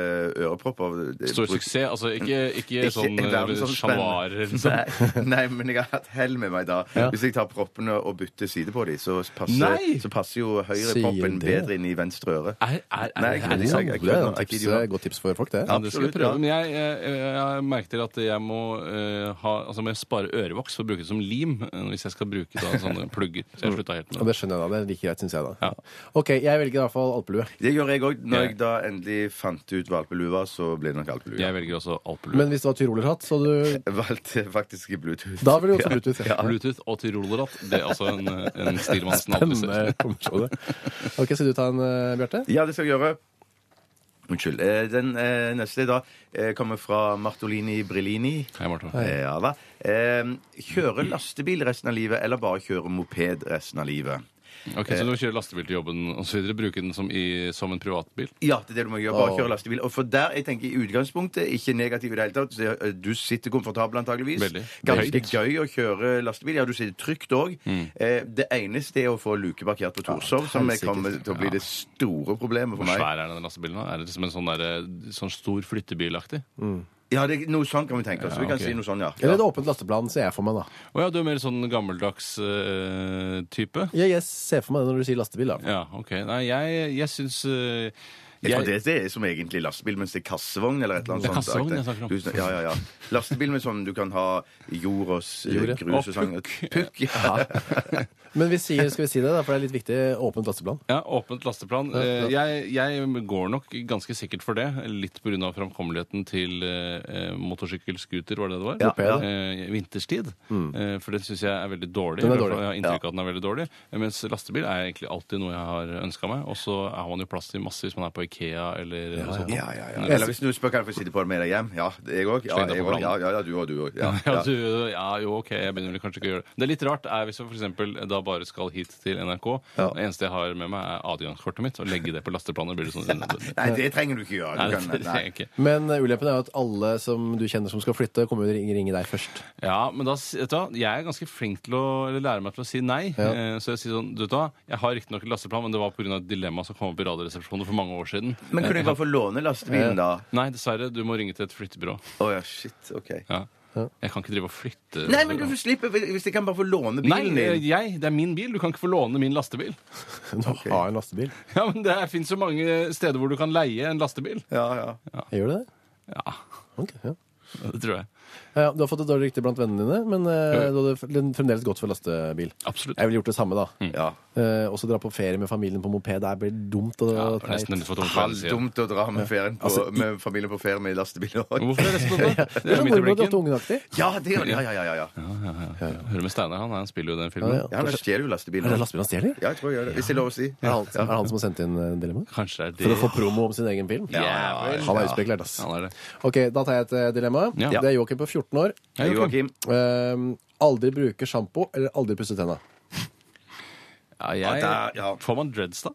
ørepropper. Stor suksess. Altså ikke, ikke, Ikke sånn en verden som eh, sjavar spenner. eller Nei, sånn. nei, men jeg har hatt hell med meg da. Hvis jeg tar proppene og bytter side på dem, så passer, Nei! så passer jo høyre Sier proppen det? bedre inn i venstre øre. Er, er, liksom? er, Nei, er, ikke det de sa. er, jeg- det Sånn jeg er glemmer et ikke tips, idioter. eh, godt tips for folk, det. ja, det skal vi Absolutt, prøve. ja. Men jeg, jeg, jeg, jeg merker til at jeg må, eh, ha, altså må jeg spare ørevoks for å bruke det som lim eh, hvis jeg skal bruke da, sånne plugger. Så Mm. jeg slutta helt med det. Og det skjønner jeg da. Det er like greit, syns jeg. da Ja. OK, jeg velger i hvert fall alpelue. Det gjør jeg òg. Når Ja. jeg da endelig fant ut hva alpelue var, så ble det nok alpelue. Jeg velger også alpelue. Men hvis det var tyrolerhatt, så du Jeg valgte faktisk Bluetooth. Da ville du også Bluetooth. Ja. Bluetooth og tyrolerhatt. Det er altså en, en stil man nesten aldri ser. Spennende kombinasjon. OK, skal du ta en, eh, Bjarte? Ja, det skal jeg gjøre. Unnskyld. Eh, Den eh, neste da eh, kommer fra Martolini Brillini. Hei, Martha. Eh, Ja da. Eh, Kjøre lastebil resten av livet, eller bare kjøre moped resten av livet? Ok, Så du kjører lastebil til jobben osv. Bruke den som, i, som en privatbil? Ja, det er det du må gjøre. Bare kjøre lastebil. Og for der, jeg tenker i utgangspunktet, ikke negativ i det hele tatt. så, eh, Du sitter komfortabel antageligvis. Veldig. Ganske Høyt. gøy å kjøre lastebil. Ja, du sitter trygt òg. Eh, det eneste er å få luke parkert på Torshov, som helsike. kommer til å bli det store problemet for Hvor meg. svær er den lastebilen? da? Er det liksom en sånn, der, sånn stor flyttebilaktig? Å Ja, det, er noe sånn kan vi tenke oss. Ja, vi kan ok. si noe sånn, ja. Eller et åpent lasteplan ser jeg for meg, da. ja, du er mer sånn gammeldags eh, type? Ja, jeg ser for meg det når du sier lastebil. da Ja, OK. Nei, jeg, jeg syns eh, Jeg tror det jeg, er det er som egentlig lastebil, mens det er kassevogn eller et eller annet Det er sånt. eh, kassevogn jeg snakker om. Du sn- Ja, ja, ja. Lastebil med sånn du kan ha jord og s- Jord, ja. grus og sånn. Og pukk. Pukk, ja. Men vi sier, skal vi si det, da, for det er litt viktig. Åpent lasteplan. ja, Åpent lasteplan. Eh, Jeg, jeg går nok ganske sikkert for det. Litt pga. framkommeligheten til eh, motorsykkel, scooter, var det det var? Ja, Mm. ja. eh, vinterstid. Eh, for det syns jeg er veldig dårlig. Den er I hvert fall dårlig. Jeg har inntrykk av at den er veldig dårlig. Eh, Mens lastebil er egentlig alltid noe jeg har ønska meg. Og så har man jo plass til masse hvis man er på Ikea eller noe sånt. Ja, ja, ja. Eller hvis du spør kan jeg få sitte på det med deg hjem. Ja, jeg òg. Ja, Sleng deg jeg på også. ja, planen. ja, ja, du òg, du òg. Ja, Ja, du, ja, jo, ok, jeg begynner vel kanskje ikke å gjøre det. Det er litt rart er hvis jeg f.eks. da bare skal hit til NRK. Det eneste jeg har med meg, er adgangskortet mitt. Og legge det på lasteplanet blir det sånn Nei, det trenger du ikke gjøre. Nei, Du det kan, det nei. er jeg ikke. Men eh, ulempen er jo at alle som du kjenner som skal flytte, kommer jo til å ringe- ringe deg først. Ja, men da, s- vet du hva, jeg er ganske flink til å eller lære meg til å si nei. Eh, Så jeg sier sånn, du vet hva, jeg har riktignok en lasteplan, men det var pga. et dilemma som kom opp i Radioresepsjonen for mange år siden. Men kunne jeg bare få låne lastebilen, da? Nei, dessverre, du må ringe til et flyttebyrå. Å ja, shit. OK. Ja. Jeg kan ikke drive og flytte. Nei, men du får slippe hvis jeg kan bare få låne Nei, bilen eh, din. jeg, det er min bil. Du kan ikke få låne min lastebil. Du har en lastebil. Ja, men Det fins jo mange steder hvor du kan leie en lastebil. Ja, ja. Gjør du det? Ja, Ok, ja. det tror jeg. Ja, ja, du har fått et dårlig rykte blant vennene dine, men eh, Ja. du hadde f- den fremdeles gått for lastebil. Absolutt. Jeg ville gjort det samme, da. Mm. ja. Eh, også dra på ferie med familien på moped. Det blir dumt og Ja, det var teit. nesten litt for tungt for å si. Halvdumt å dra med, ferien på, med familien på ferie med lastebil òg. Altså, Hvorfor er det sånn? da? Det er sånn mormor Midt i og blinken. datter-ungenaktig. Ja, det gjør det. Ja, ja, ja, ja, ja. Hører med Steinar, han, han spiller jo i den filmen. Ja, ja. ja han stjeler jo Er lastebilen. det lastebilen han stjeler? Ja, jeg tror jeg gjør det. Hvis det er lov å si. Er det han, er det han som har sendt inn eh, dilemmaet? Kanskje det For å er det. få promo om sin egen film? Ja, vel, Han er utspekulert, ass. Han er det. Ok, da tar jeg et eh, dilemma. Ja. Det er Joakim på 14 år. Hei, Joakim. Joakim. Ehm, aldri bruke sjampo eller aldri pusse tenna. Ja, jeg, Ja, der, ja. Får man dreads, da?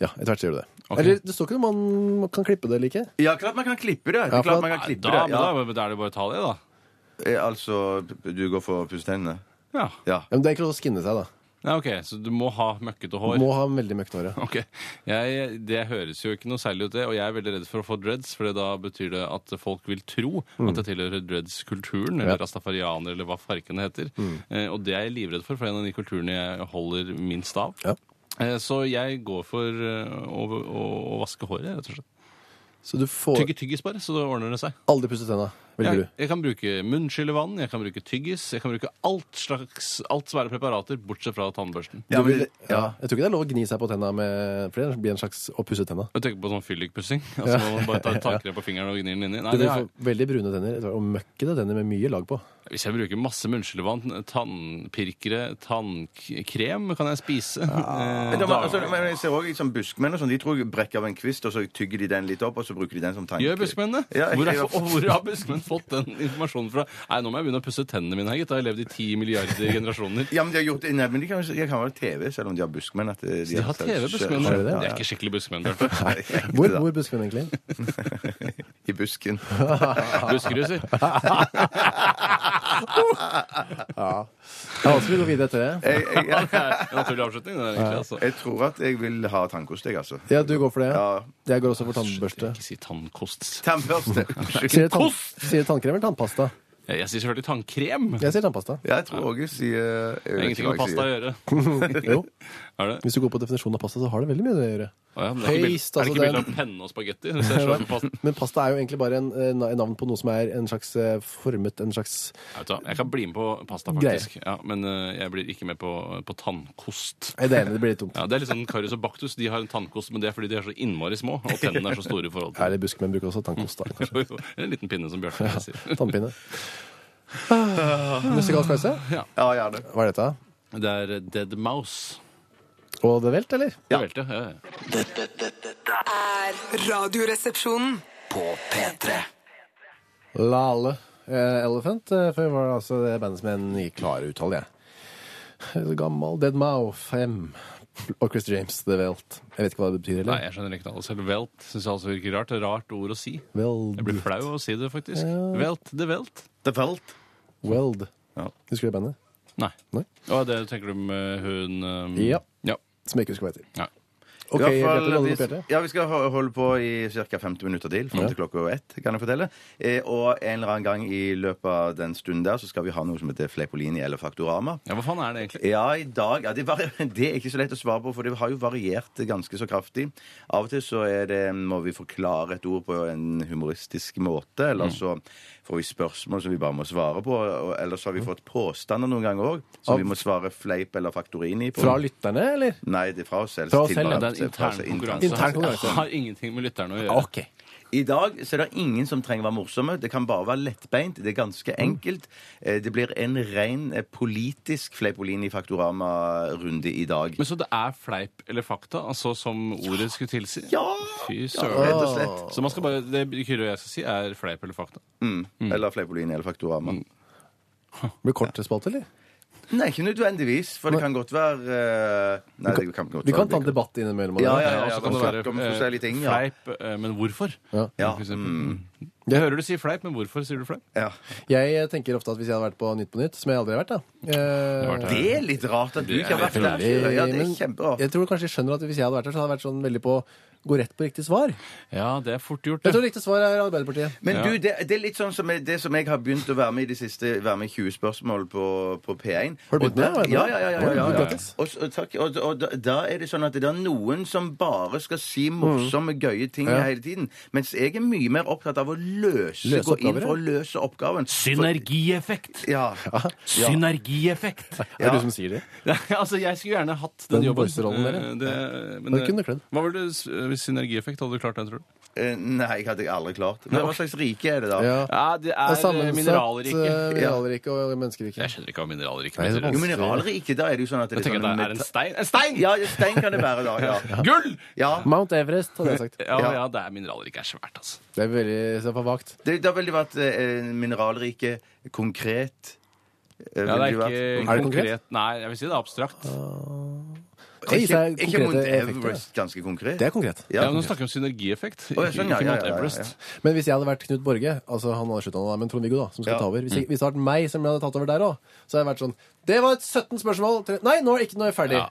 Ja, etter hvert sier du det. Ok. Eller det står ikke noe om man kan klippe det eller ikke. Ja, klart man kan klippe det. det er for klart at- man kan Nei, klippe da, det. men Ja. da, da er det bare å ta det, da. Eh, Altså, du går for å pusse tennene? Ja. Ja, Ja. Men det er ikke lov å skinne seg, da. Nei, OK, så du må ha møkkete hår. Må ha veldig møkkete hår. ja. Ok, jeg, Det høres jo ikke noe særlig ut, det. Og jeg er veldig redd for å få dreads, for da betyr det at folk vil tro at jeg tilhører dreads-kulturen, eller Mm. Ja. Mm. rastafarianer, eller hva farken heter. Eh, og det er jeg livredd for, for det er en av de kulturene jeg holder minst av. Ja. Eh, så jeg går for eh, å, å, å vaske håret, rett og slett. Så du får Tygge tyggis bare, så det ordner det seg. aldri pusse tenna, velger Jeg, du. jeg kan bruke munnskyllevann, jeg kan bruke tyggis, jeg kan bruke alt slags, alt svære preparater, bortsett fra tannbørsten. Ja, du men vil, det- ja. Jeg tror ikke det er lov å gni seg på tenna med For det blir en slags å pusse tenna. Jeg tenker på sånn fyllikpussing. Altså, man bare tar takrem på fingeren og gnir den inni. Nei, Du det vil er, få veldig brune tenner etter hvert, og møkkete tenner med mye lag på. Hvis jeg bruker masse munnskyllevann, tannpirkere, tannkrem kan jeg spise. Men, Eh, da, da- må- altså, men jeg ser også liksom buskmenn og sånn. De tror jeg brekker av en kvist, og så tygger de den litt opp, og så bruker de den som tanke. Gjør buskmennene? Ja, hvor, er, jeg- og hvor er buskmenn? fått den informasjonen fra Nei, nå må jeg begynne å pusse tennene mine her, gitt. Jeg har levd i ti milliarder generasjoner. Ja, men de har gjort det. Nei, men de kan, jeg kan være TV, selv om de har buskmenn. At eh, de, De har TV-buskmenn. Ja, De ja. er ikke skikkelig buskmenn. Bjarte. Hvor bor Buskerud egentlig? I busken. Buskerud, sier. Ja, altså, vi går videre etter det. Jeg, jeg, jeg, Det er en Naturlig avslutning, det er egentlig. altså. jeg tror at jeg vil ha tannkost, jeg, altså. Ja, du går for det? Ja. Jeg går også for tannbørste. Ikke si tannkost. Tannbørste. Sier du tann Kost! sier du tannkrem eller tannpasta? Ja, Jeg sier selvfølgelig tannkrem. Det Jeg sier tannpasta. Ja, jeg tror Åge sier jeg vet har ingenting ikke hva med jeg pasta å sier. gjøre. Jo, Er det? Hvis du går på definisjonen av pasta, så har det veldig mye med det å gjøre. Å ja, men det er ikke Paste, bilde- er det altså, ikke bilde den- av penne og spagetti? Hvis jeg slår på pasta- Men pasta er jo egentlig bare en, eh, na- navn på noe som er en slags eh, formet en slags Jeg vet hva, Jeg kan bli med på pasta, faktisk. Ja, men eh, jeg blir ikke med på, på tannkost. Jeg er enig, det blir litt dumt. Ja, det er litt sånn Karius og Baktus de har en tannkost, men det er fordi de er så innmari små, og tennene er så store i forhold til Ærlig buskmenn bruker også tannkost. da, kanskje. En liten pinne, som Bjarte sier. Tannpinne. Ah, Musikalsk pause? Ja, gjerne. Hva er dette? Det er eh, Dead Mouse. Og det velt, eller? Ja. Det velte, ja, ja. Dette, dette, dette er Radioresepsjonen. på P3. Lale eh, Elephant. eh, For det var altså det bandet som en ikke klarer å uttale, jeg. Gammel Dead Mow 5. Og Chris James, The Velt. Jeg vet ikke hva det betyr, Nei, eller? jeg skjønner ikke noe. Selv velt syns jeg altså virker rart. Rart ord å si. Veld. Jeg blir flau av å si det, faktisk. Velt, det velt. The Felt. Weld. Ja. Husker du det bandet? Nei. Nei. Å, det tenker du med hun um, Ja. ja. Som jeg ikke husker hva heter. Ja. OK, I hvert Bjarte, du holder på fall, hjertet? vi, ja, vi skal ho- holde på i ca. 50 minutter til, fram til klokka ett, kan jeg fortelle. Eh, og en eller annen gang i løpet av den stunden der, så skal vi ha noe som heter Fleipolini eller Faktorama. ja, hva faen er det egentlig? Ja, i dag ja, det, var, det er ikke så lett å svare på, for det har jo variert ganske så kraftig. Av og til så er det, må vi forklare et ord på en humoristisk måte, Mm. eller så får vi spørsmål som vi bare må svare på. og- Eller så har vi Mm. fått påstander noen ganger òg, som vi må svare fleip eller faktorini på. Fra lytterne, eller? Nei, det er fra oss selv. Fra oss til selv, hverandre. Det er en Fra oss intern selv, konkurranse. Intern konkurranse. Har ingenting med lytterne å gjøre. I dag så er det ingen som trenger å være morsomme. Det kan bare være lettbeint. Det er ganske Mm. enkelt. Eh, Det blir en ren eh, politisk Fleipolini Faktorama-runde i dag. Men så det er fleip eller fakta, altså som ordet skulle tilsi? Ja! Fy Rett søren. og slett. Så man skal bare, det Kyrre og jeg skal si, er fleip eller fakta. Mm. Eller Fleipolini eller Faktorama. Blir kort spalte, eller? Nei, ikke nødvendigvis, for det kan godt være eh, Nei, det kan godt Vi være kan ta en debatt innimellom. Ja, ja, Ja, ja. og så kan man det være snakker om forskjellige ting, ja. fleip, eh, men hvorfor? Ja. Ja, Mm. For eksempel. Mm. Jeg hører du si fleip, men hvorfor sier du fleip? ja. Jeg eh, tenker ofte at hvis jeg hadde vært på Nytt på Nytt, som jeg aldri har vært, da eh, vært her. Det er litt rart at du ikke har vært der. veldig, Kyrre. Ja, det er men kjemperart. Jeg tror kanskje jeg skjønner at hvis jeg hadde vært der, så hadde jeg vært sånn veldig på gå rett på riktig svar. Ja, det er fort gjort. Jeg Det. tror riktig svar er Arbeiderpartiet. Men Ja. du, det, det er litt sånn som jeg, det som jeg har begynt å være med i de siste være med i 20 spørsmål på, på P1. Har du begynt Og da- med det? Ja, ja, ja. ja, ja, ja, ja. Grattis. Og, s- og, takk, og, og da, da er det sånn at det er noen som bare skal si morsomme, gøye ting Mm. Ja. hele tiden. Mens jeg er mye mer opptatt av å løse, Løse gå inn oppgaver, for å løse oppgaven. Synergieffekt! For, ja. Synergieffekt! Er det du som sier det? altså, Jeg skulle gjerne hatt Den den jobben. voice-rollen der, ja. Eh, det- men, Den eh, kunne du kledd. Hva var det, s- hvis synergieffekt hadde du klart den, tror du? Eh, Nei, jeg hadde jeg aldri klart. Men hva slags rike er det da? Ja. Ja, det Det er er sammensatt mineralrike. eh, mineralrike og menneskerike. Jeg skjønner ikke hva mineralrike Nei, det er betyr. Jo, mineralrike, da er det jo sånn at det Jeg er tenker sånn at det er en stein. En stein! Ja, stein kan det være, da. Ja. Gull! ja. Mount Everest, hadde jeg sagt. Ja, Ja. ja, det er mineralrike er svært, altså. Det er veldig så det er for vagt. Det, det har veldig vært eh, mineralrike, konkret eh, Ja, ville det er vært- ikke Er det konkret? konkret? Nei, jeg vil si det er abstrakt. Det gir seg Er ikke, er ikke Mount konkrete effekter. da. Everest ganske konkret? Det er konkret. Ja, Ja, men Nå snakker vi om synergieffekt. Å, jeg ikke- skjønner, ja, ikke Mount ja, ja, ja. Everest. Men hvis jeg hadde vært Knut Borge, altså han har sluttet nå, da, men Trond-Viggo, da, som skal Ja. ta over Hvis, jeg, hvis det hadde vært meg som jeg hadde tatt over der òg, så hadde jeg vært sånn Det var et 17 spørsmål! tre- Nei, nå er det ikke noe ferdig. Ja.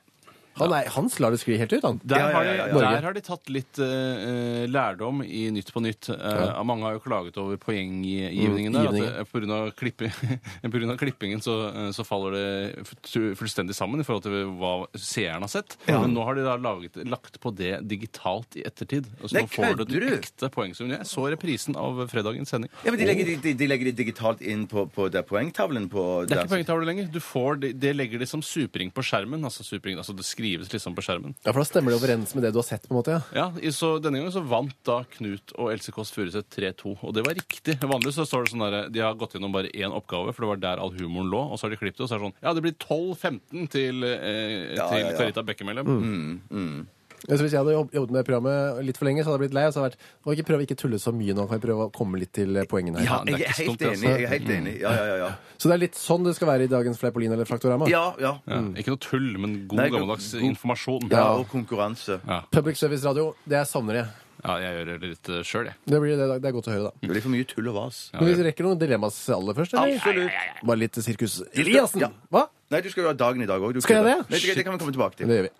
Han, er, han lar det skli helt ut, han. Der, Ja, ja, ja, ja, Har ja. de, der har de tatt litt eh, lærdom i Nytt på nytt. Eh, Mange har jo klaget over poenggivningen Mm, der. givningen. at eh, Pga. Klippe, på grunn av klippingen så, eh, så faller det fu- fullstendig sammen i forhold til hva seeren har sett. Men nå har de da laget, lagt på det digitalt i ettertid. Og så Nei, nå får du kødder den du? ekte poengsummen. Jeg så reprisen av fredagens sending. Ja, men de legger, de, de legger det digitalt inn på, på der poengtavlen på Det der- er ikke poengtavle lenger. Du får det, det legger de som supering på skjermen. Altså, supering, altså det skrives liksom på skjermen. Ja, For da stemmer det overens med det du har sett, på en måte. ja. Ja, i- så Denne gangen så vant da Knut og Else Kåss Furuseth 3-2, og det var riktig. Vanligvis så står det sånn der, De har gått gjennom bare én oppgave, for det var der all humoren lå. Og så har de klippet det, og så er det sånn Ja, det blir 12-15 til, eh, Ja, Mm. til ja, ja. Mm. Carita Bekkemellem. Ja, så Altså, Hvis jeg hadde jobb- jobbet med programmet litt for lenge, så hadde jeg blitt lei. og Så hadde jeg vært, må ikke prøve å ikke tulle så mye nå, kan jeg prøve å komme litt til eh, poengene her. Ja, det er jeg ikke er helt stort, enig. altså. jeg er helt enig. Ja, ja, ja. ja. Så det er litt sånn det skal være i dagens Fleipolin eller Fraktorama. ja, ja. Ja, ikke noe tull, men god Mm. Nei, god- gammeldags informasjon. ja og konkurranse. Public Service Radio, det er savner jeg. Ja, jeg gjør det litt sjøl, jeg. Det, blir det, da. det er godt å høre, da. Det blir for mye tull og vas. Men vi rekker noen dilemmas aller først, eller? Absolutt. Bare litt sirkus Eliassen! Ja. Hva? Nei, du skal jo ha dagen i dag òg. Skal jeg det? Nei, det, det kan vi komme tilbake til. Det gjør vi.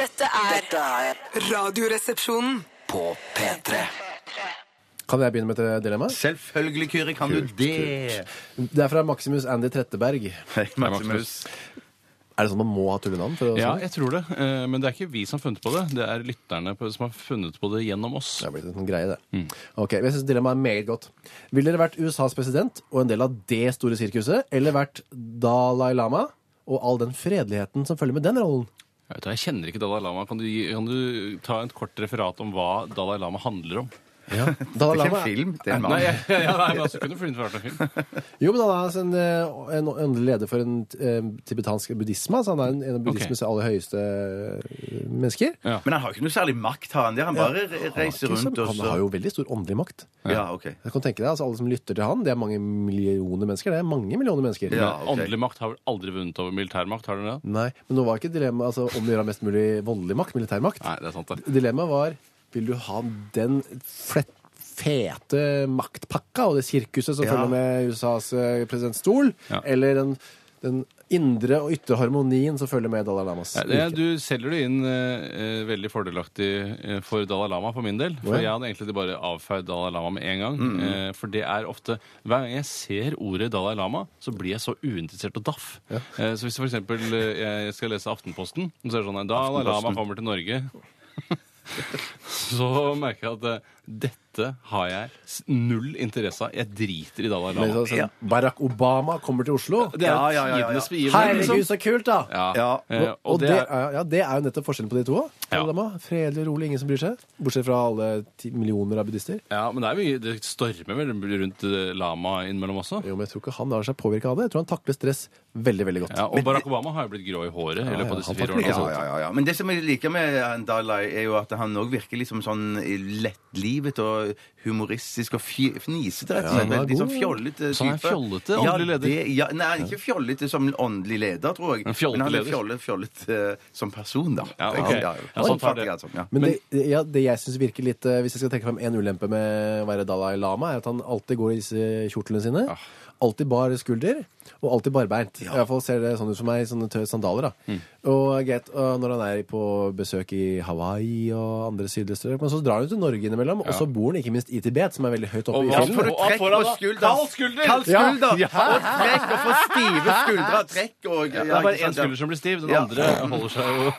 Dette er Radioresepsjonen. På P3 Kan jeg begynne med et dilemma? Selvfølgelig, Kyrre, kan du det? Det er fra Maximus Andy Tretteberg. Hei, Maximus. Maximus. Er det sånn man må ha tullenavn? For å Ja, jeg tror det. Eh, Men det er ikke vi som har funnet på det. Det er lytterne på- som har funnet på det gjennom oss. Det har blitt en sånn greie, det. Mm. Ok, men Jeg syns dilemmaet er meget godt. Ville dere vært USAs president og en del av det store sirkuset, eller vært Dalai Lama og all den fredeligheten som følger med den rollen? Jeg, vet, ikke, jeg kjenner ikke Dalai Lama. Kan du, gi- kan du ta et kort referat om hva Dalai Lama handler om? Det Dalai er ikke Lama, en film, det er en Nei, mann. ja, ja, nei men altså, kunne funnet vært en film. jo, men han er altså en, eh, en åndelig leder for en eh, tibetansk buddhisme. Altså han er en, en av buddhismens aller høyeste eh, mennesker. Ja. Men han har ikke noe særlig makt, har han det? Han bare re- reiser Ikke sant? rundt og han så har jo veldig stor åndelig makt. Ja, ok. Jeg kan tenke deg, altså Alle som lytter til han, det er mange millioner mennesker. Det er mange millioner mennesker. Ja, ok. Åndelig makt har vel aldri vunnet over militærmakt, har den det? Nei, men nå var ikke dilemmaet altså, om å gjøre mest mulig voldelig makt, militærmakt. Nei, det er sant, det. Dilemmaet var vil du ha den flett, fete maktpakka og det sirkuset som Ja. følger med USAs eh, presidentstol, Ja. eller den, den indre og ytre harmonien som følger med Dalai Lamas Nei, det er, virke? du selger det inn eh, eh, veldig fordelaktig eh, for Dalai Lama for min del. For Å, ja. jeg hadde egentlig bare avfeid Dalai Lama med en gang. eh, for det er ofte Hver gang jeg ser ordet Dalai Lama, så blir jeg så uinteressert og daff. Eh, så hvis for eksempel eh, jeg skal lese Aftenposten, så er det sånn eh, Dalai Lama Aftenposten. kommer til Norge. så merker jeg at eh, dette har jeg s- null interesse av. Jeg driter i Dalai Men Lama. sånn, sånn, Barack Obama kommer til Oslo. Det er Ja, ja, ja, ja. tidenes begivenhet. Herregud, Liksom. så kult, da! Ja. Ja. Eh, Og, og det, er, ja, det er jo nettopp forskjellen på de to. også. Ja. Dalai Lama, Fredelig og rolig, ingen som bryr seg. Bortsett fra alle ti millioner av buddhister. Ja, men det, er mye, det stormer vel rundt eh, lama innimellom også. Jo, men jeg tror ikke han lar seg påvirke av det. Jeg tror han takler stress veldig, veldig godt. Ja, og Barack Obama har jo blitt grå i håret i ja, løpet av disse han fire faktisk- årene. altså. Ja, ja, ja, ja. Men det som jeg liker med han Dalai, er jo at han òg virker liksom sånn lettlivet og humoristisk og fj- fnisete, rett og slett. han er Veldig sånn god. fjollete. Så han er type. fjollete åndelig leder? Ja, det, ja, nei, han er ikke fjollete som åndelig leder, tror jeg. Men fjollete Men han er leder. fjolle, fjollete eh, som person, da. Ja, Tenker ok. jeg. Ja, sånn tar det. Oppfatter jeg det som, altså. ja. Men, det, ja, det jeg syns virker litt eh, Hvis jeg skal trekke frem én ulempe med å være Dalai Lama, er at han alltid går i disse kjortlene sine. Ah. Alltid bar skulder, og alltid barbeint. I hvert fall ser det sånn ut for meg. Sånne tø- sandaler. da Mm. Og greit, og når han er på besøk i Hawaii og andre sydlige strøk, men så drar han jo til Norge innimellom, og så bor han ikke minst i Tibet, som er veldig høyt oppe Og i hva Ja, for fjellet. du Og han trekk får han på da- skulder. Kald skulder! Kald skulder. Ja. Og trekk og få stive skuldre. Trekk og Det er bare én skulder som blir stiv, den Ja. andre holder seg jo,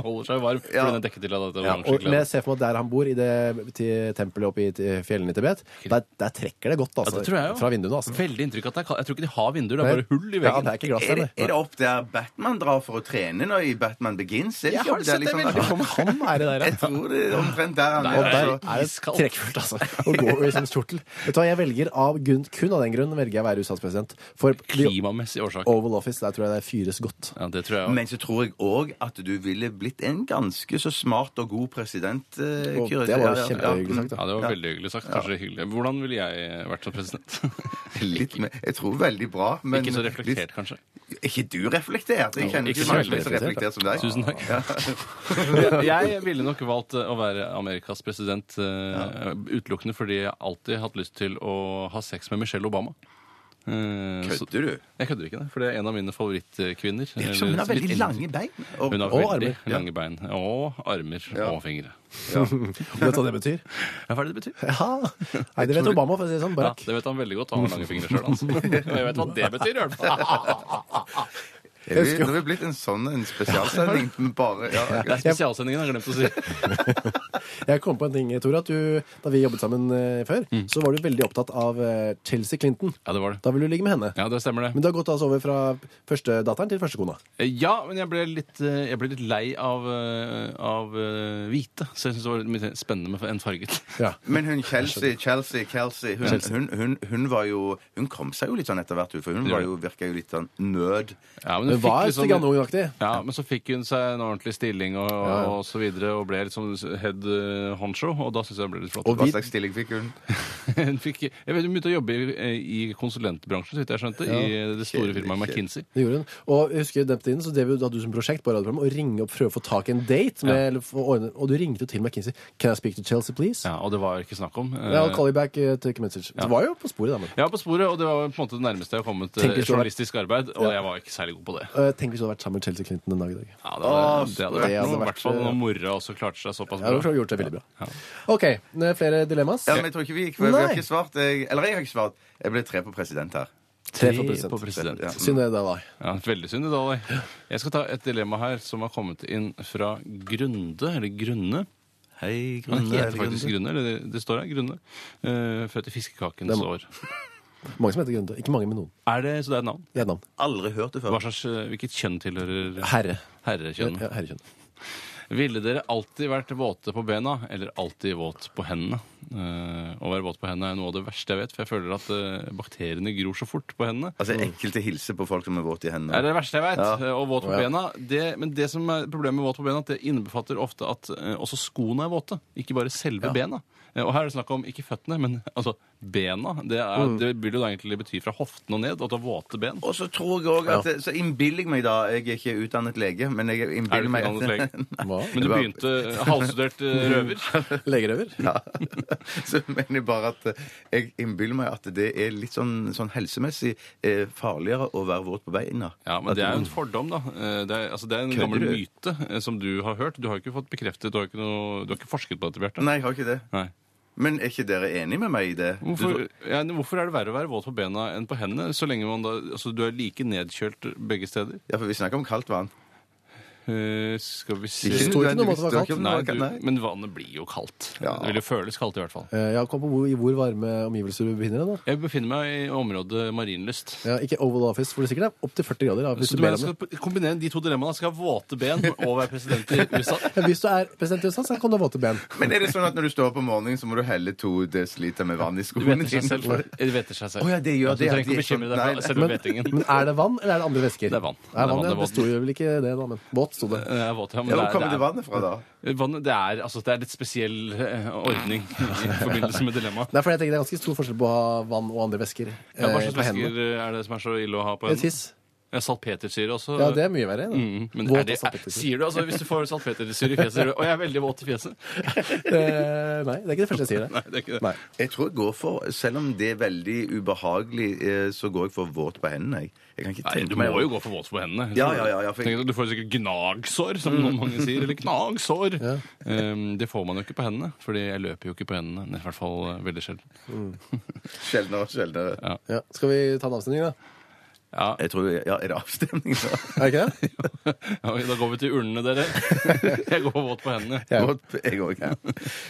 holder seg jo varm. Fordi Ja. den er dekket til av Ja, dette oransje og men jeg kledet. ser for meg at der han bor, i det til tempelet oppe i t- fjellene i Tibet, der, der trekker det godt altså, Ja, det tror jeg jo. fra vinduene. Altså. Veldig inntrykk at det er kaldt. Jeg tror ikke de har vinduer, det er bare hull Ja, i veggen. det er ikke glass Er det, der. er det opp der Batman drar for å trene nå i Batman Begins? Er Jeg har det ikke opp der, sett det liksom? bildet! Han er det der, ja. Jeg tror det er omtrent der han Nei, er. Og nei, der nei. altså. er det iskaldt. trekkfullt, altså. Å gå i sånn kjortel. Vet du hva, jeg velger av grunn, kun av den grunn velger jeg å være USAs president. For The Klimamessig årsak. Oval Office, der tror jeg det fyres godt. Ja, det tror jeg også. Men så tror jeg òg at du ville blitt en ganske så smart og god president. eh, Og Kyrre. det var jo Ja, ja, kjempehyggelig sagt, Ja, da. det var veldig hyggelig sagt. Kanskje hyggelig. Hvordan ville jeg vært som president? ja. Litt mer- Jeg tror veldig bra, men Ikke så reflektert, kanskje. Er ikke du reflektert? Jeg kjenner ikke ikke så mange som veldig er så reflektert som deg. Tusen takk. Ja. Jeg ville nok valgt eh, å være Amerikas president eh, utelukkende fordi jeg alltid hatt lyst til å ha sex med Michelle Obama. Eh, så- Kødder du? Jeg kødder ikke, det, for det er en av mine favorittkvinner. Det virker som hun har Eller- veldig lange bein. Og- Hun har Og veldig armer, ja. lange bein. Og armer og fingre. Vet du hva det betyr? Ja, hva er det det betyr? Ja. Nei, det vet Obama, for å si det sånn. Ja, Barack. det vet han veldig godt. Han har lange fingre sjøl, altså. Og jeg vet hva det betyr, i hvert fall. Er vi- Det ville blitt en sånn en spesialsending. men Bare, ja, Det er spesialsendingen, jeg har glemt å si. Jeg kom på en ting, Tor, at du, da vi jobbet sammen eh, før, så var du veldig opptatt av eh, Chelsea Clinton. Ja, det var det. Da ville du ligge med henne. Ja, det stemmer det. Men du har gått altså over fra førstedatteren til førstekona. Eh, Ja, men jeg ble litt, eh, jeg ble litt lei av, eh, av eh, hvite. Så jeg syntes det var litt mer spennende med en farget. Ja. Men hun Chelsea, Chelsea, Chelsea hun, hun, hun, hun var jo Hun kom seg jo litt sånn etter hvert, hun, for hun var jo, virka jo litt sånn nød. Ja, men Men Hun fikk var liksom- liksom... granungaktig. Ja, men så fikk hun seg en ordentlig stilling og, ja. og så videre, og ble liksom head eh, honcho, og da syns jeg det ble litt flott. Og Hva vi- slags stilling fikk hun? hun fikk, jeg vet, hun begynte å jobbe i, eh, i konsulentbransjen, så vidt jeg skjønte, i det store kjedelig, kjedelig. firmaet McKinsey. Det gjorde hun. Og jeg husker den tiden så drev jo- da hadde du som prosjekt på radioprogrammet å ringe og prøve å få tak i en date. Med, eller få ordne, og du ringte jo til McKinsey. Can I speak to Chelsea, please? Ja, og det var jo ikke snakk om. eh, Ja, I'll call you back eh, take a message. Det var jo på sporet, da. Men. Jeg var på sporet, og det var på en måte det nærmeste jeg har kommet eh, Tenk hvis du var- journalistisk arbeid, og Ja. jeg var ikke særlig god på det. Eh, Tenk hvis du hadde vært sammen med Chelsea Clinton en dag i dag. Ja, det, hadde, Åh, det hadde det hadde vært- vært noe, i eh, hvert fall når mora også klarte seg såpass Ja, du bra. har gjort det veldig bra. OK, eh, flere dilemmas? Ja, men jeg tror ikke vi gikk, for vi har Nei. ikke svart. Jeg, eller jeg har ikke svart. Jeg ble tre på president her. Tre for Tre på president. president. Ja. Synd det, da. da. Ja, veldig synd i dag. Jeg skal ta et dilemma her som har kommet inn fra Grunde, eller Grunne. Hei, Han Grunne, heter faktisk Grunne, eller det, det står her, Grunne. Eh, født i fiskekakens Det må- år. Mange som heter Grunde. Ikke mange, men noen. Er det, så det er et navn? Det er et navn. Aldri hørt det Hva før. slags, eh, hvilket kjønn tilhører Herre. herrekjønn? Ja, herrekjønn. Ville dere alltid vært våte på bena, eller alltid våt på hendene? Eh, å være våt på hendene er noe av det verste jeg vet, for jeg føler at eh, bakteriene gror så fort på hendene. Altså, enkelte hilser på folk som er våte i Det er hendene. det verste jeg veit. Ja. Og våt på Å, ja. bena det, Men det som er problemet med våt på bena, at det innbefatter ofte at eh, også skoene er våte. Ikke bare selve bena. Eh, Og her er det snakk om ikke føttene, men altså bena. Det, er, Mm. det vil jo da egentlig bety fra hoften og ned at du har våte ben. Og så tror jeg også at Så innbiller jeg meg, da Jeg er ikke utdannet lege, men jeg Er du innbiller ikke meg utdannet lege? Hva? Men du begynte eh, halvstudert Mm. eh, røver. Legerøver? Så mener jeg bare at eh, jeg innbiller meg at det er litt sånn, sånn helsemessig eh, farligere å være våt på beina. Ja, men At det er jo en du- fordom, da. Eh, Det er, altså, det er en Kødder du? gammel myte eh, som du har hørt. Du har jo ikke fått bekreftet, du har ikke, noe, du har ikke forsket på dette, Bjarte. Nei, jeg har ikke det. Nei. Men er ikke dere enige med meg i det? Du Hvorfor, tror- ja, men hvorfor er det verre å være våt på bena enn på hendene? Så lenge man da, altså Du er like nedkjølt begge steder. Ja, for vi snakker om kaldt vann. Eh, skal vi se Det står ikke noe om at det var Det står ikke om Nei, det du, var kaldt, nei. Men vannet blir jo kaldt. Ja. Det vil jo føles kaldt, i hvert fall. Eh, Ja, kom på hvor, i hvor varme omgivelser du befinner deg, da. Jeg befinner meg i området Marienlyst. Ja, ikke Oval Office, for det sikkert er opptil 40 grader. Da, hvis, Så du du ber mener om jeg det. skal kombinere de to dilemmaene? Skal ha våte ben og være president i USA? Ja, hvis du er president i USA, så kan du ha våte ben. Men er det sånn at når du står opp om morgenen, så må du helle to desiliter med vann i Du skoene veter seg selv. dine? Du veter seg selv. Å ja, det gjør du det, at de trenger ikke er å bekymre sånn- nei, nei. deg for selve Men, vetingen. men er det vann, eller er det andre væsker? Det er vann. Det er vann, Det er ja. vann, Det det er sto jo vel ikke det, da, men våt sto det. Jeg er våt, ja, Ja, men det hvor er- kommer det det er- vannet fra da? Vannet, det er, altså, det er litt spesiell eh, ordning i forbindelse med dilemma. Nei, for jeg tenker Det er ganske stor forskjell på å ha vann og andre væsker eh, Ja, hva slags på hendene. væsker eh, er det som er så ille å ha på En hendene? tiss. Ja, salpetersyre også. Ja, det er mye verre. da. Mm, men Våt er det, og salpetersyre. sier du altså hvis du får salpetersyre i fjeset sier du, Og jeg er veldig våt i fjeset. Eh, nei, det er ikke det første jeg sier. Nei, det er ikke det. Nei. Jeg tror jeg går for, selv om det er veldig ubehagelig, eh, så går jeg for våt på hendene. Jeg, jeg kan ikke Nei, tenke du meg må jo gå for våt på hendene. Ja, ja, ja, ja, for- Tenk at Du får sikkert gnagsår, som noen mange sier. Eller gnagsår! Um, det får man jo ikke på hendene, Fordi jeg løper jo ikke på hendene. I hvert fall eh, veldig sjelden. sjeldnere og sjeldnere. Ja. Skal vi ta en avstemning, da? Ja. Jeg tror, ja, Er det avstemning nå? Er det ikke det? ja, Da går vi til urnene, dere. Jeg går våt på hendene. Våt, jeg òg.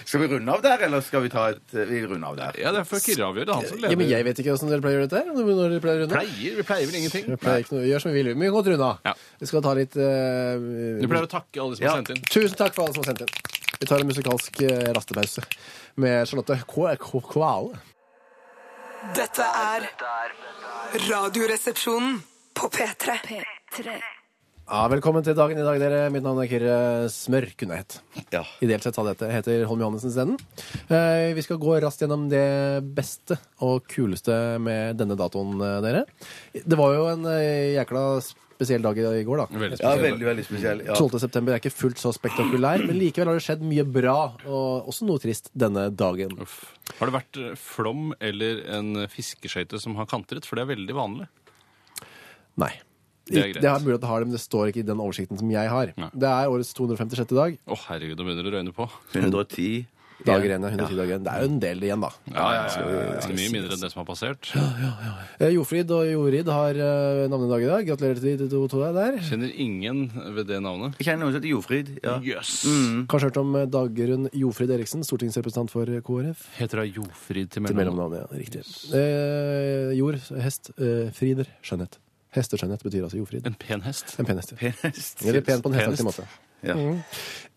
Skal vi runde av der, eller skal vi ta et Vi runder av der. Ja, det er for Kyrre avgjør. Det er han som Ja, men leder. Jeg vet ikke hvordan dere pleier å gjøre dette. her, Når dere pleier å runde. pleier, vi pleier vel ingenting. Vi pleier ikke noe, vi gjør som vi vil. Vi kan gå til runde av. Ja. Vi skal ta litt eh, Du pleier å takke alle de som har Ja. sendt inn. Tusen takk for alle som har sendt inn. Vi tar en musikalsk eh, rastepause med Charlotte K- K- Kvale. Dette er Radioresepsjonen på P3. Ja, velkommen til dagen i dag, dere. Mitt navn er Kyrre Smørkunehet. Ja. Ideelt sett hadde jeg heter Holm Johannessen isteden. Eh, Vi skal gå raskt gjennom det beste og kuleste med denne datoen, eh, dere. Det var jo en eh, jækla spesiell dag i i går, da. Veldig ja, spesielt. veldig, veldig spesiell. Ja. 12. september er ikke fullt så spektakulær, men likevel har det skjedd mye bra, og også noe trist, denne dagen. Uff. Har det vært eh, flom eller en eh, fiskeskøyte som har kantret? For det er veldig vanlig. Nei. Det er Ikke- greit. Det er mulig at det har det, men det står ikke i den oversikten som jeg har. Nei. Det er årets 256. dag. Å, herregud, nå begynner det å røyne på. 110. Dager igjen, ja, 110 dager igjen. Det er jo en del igjen, da. Ja, ja, ja, Det er mye mindre enn det som har passert. Eh, Jofrid og Jorid har eh, navnedag i dag. Gratulerer til de to, to der. Kjenner ingen ved det navnet. Jeg kjenner noen som heter Jofrid. Ja. Jøss! Kanskje hørt om eh, Dagrun Jofrid Eriksen, stortingsrepresentant for eh, KrF. Heter hun Jofrid til Til mellomnavn? mellomnavnet, ja. Riktig. Eh, jord, hest, eh, frider, skjønnhet. Hesteskjønnhet betyr altså Jofrid. En pen hest. En pen hest. Penest. Eller pen på en Penest. hestaktig måte. Ja.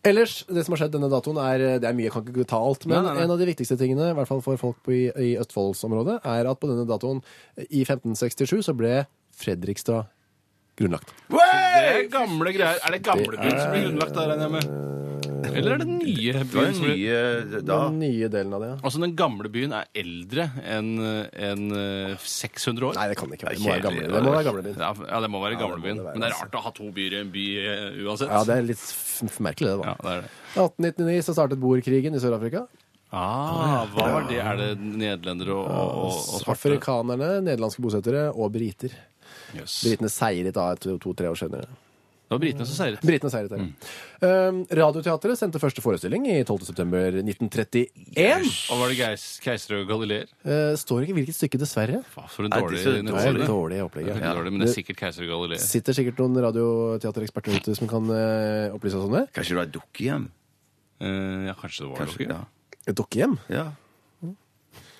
Ellers, det som har skjedd denne datoen, er Det er mye, jeg kan ikke ta alt. Men Nei, nei, nei. en av de viktigste tingene, i hvert fall for folk på, i, i Østfoldsområdet, er at på denne datoen eh, i 1567 så ble Fredrikstad grunnlagt. Det er gamle greier. Er det gamle byen som blir grunnlagt der, regner jeg med? Eller er det den nye Det var byen jo som blir nye da. Den nye delen av det, ja. Altså, den gamle byen er eldre enn enn, eh, 600 år. Nei, det kan det ikke være. Det må Det er være gamle, det kjedelig, må være gamle din. Ja, ja, det må være altså. gamlebyen. det være, Men det er rart å ha to byer i en by eh, uansett. Ja, det er litt f- merkelig, det, da. Ja, det er det. 1899 så startet boerkrigen i Sør-Afrika. Ah, hva var det? Er det nederlendere og, og, og svarte? Afrikanerne, nederlandske bosettere og briter. Jøss. Britene seiret da et to-tre år senere. Det var britene som seiret. Britene seiret Mm. der. Um, Radioteatret sendte første forestilling i 12.9.1931. Og var det Geis- keisere og galileer? Uh, står ikke hvilket stykke, dessverre. Faen, For en Nei, dårlig disse- Det er nettside. litt Det dårlig opplegg. er ja. veldig dårlig, Men det er sikkert keiser og Det galileer. sitter sikkert noen radioteatereksperter ute som kan eh, opplyse oss om det. Kanskje det var et dukkehjem? Eh, ja, kanskje det var Kanskje, dere? ja. Et dukkehjem. ja.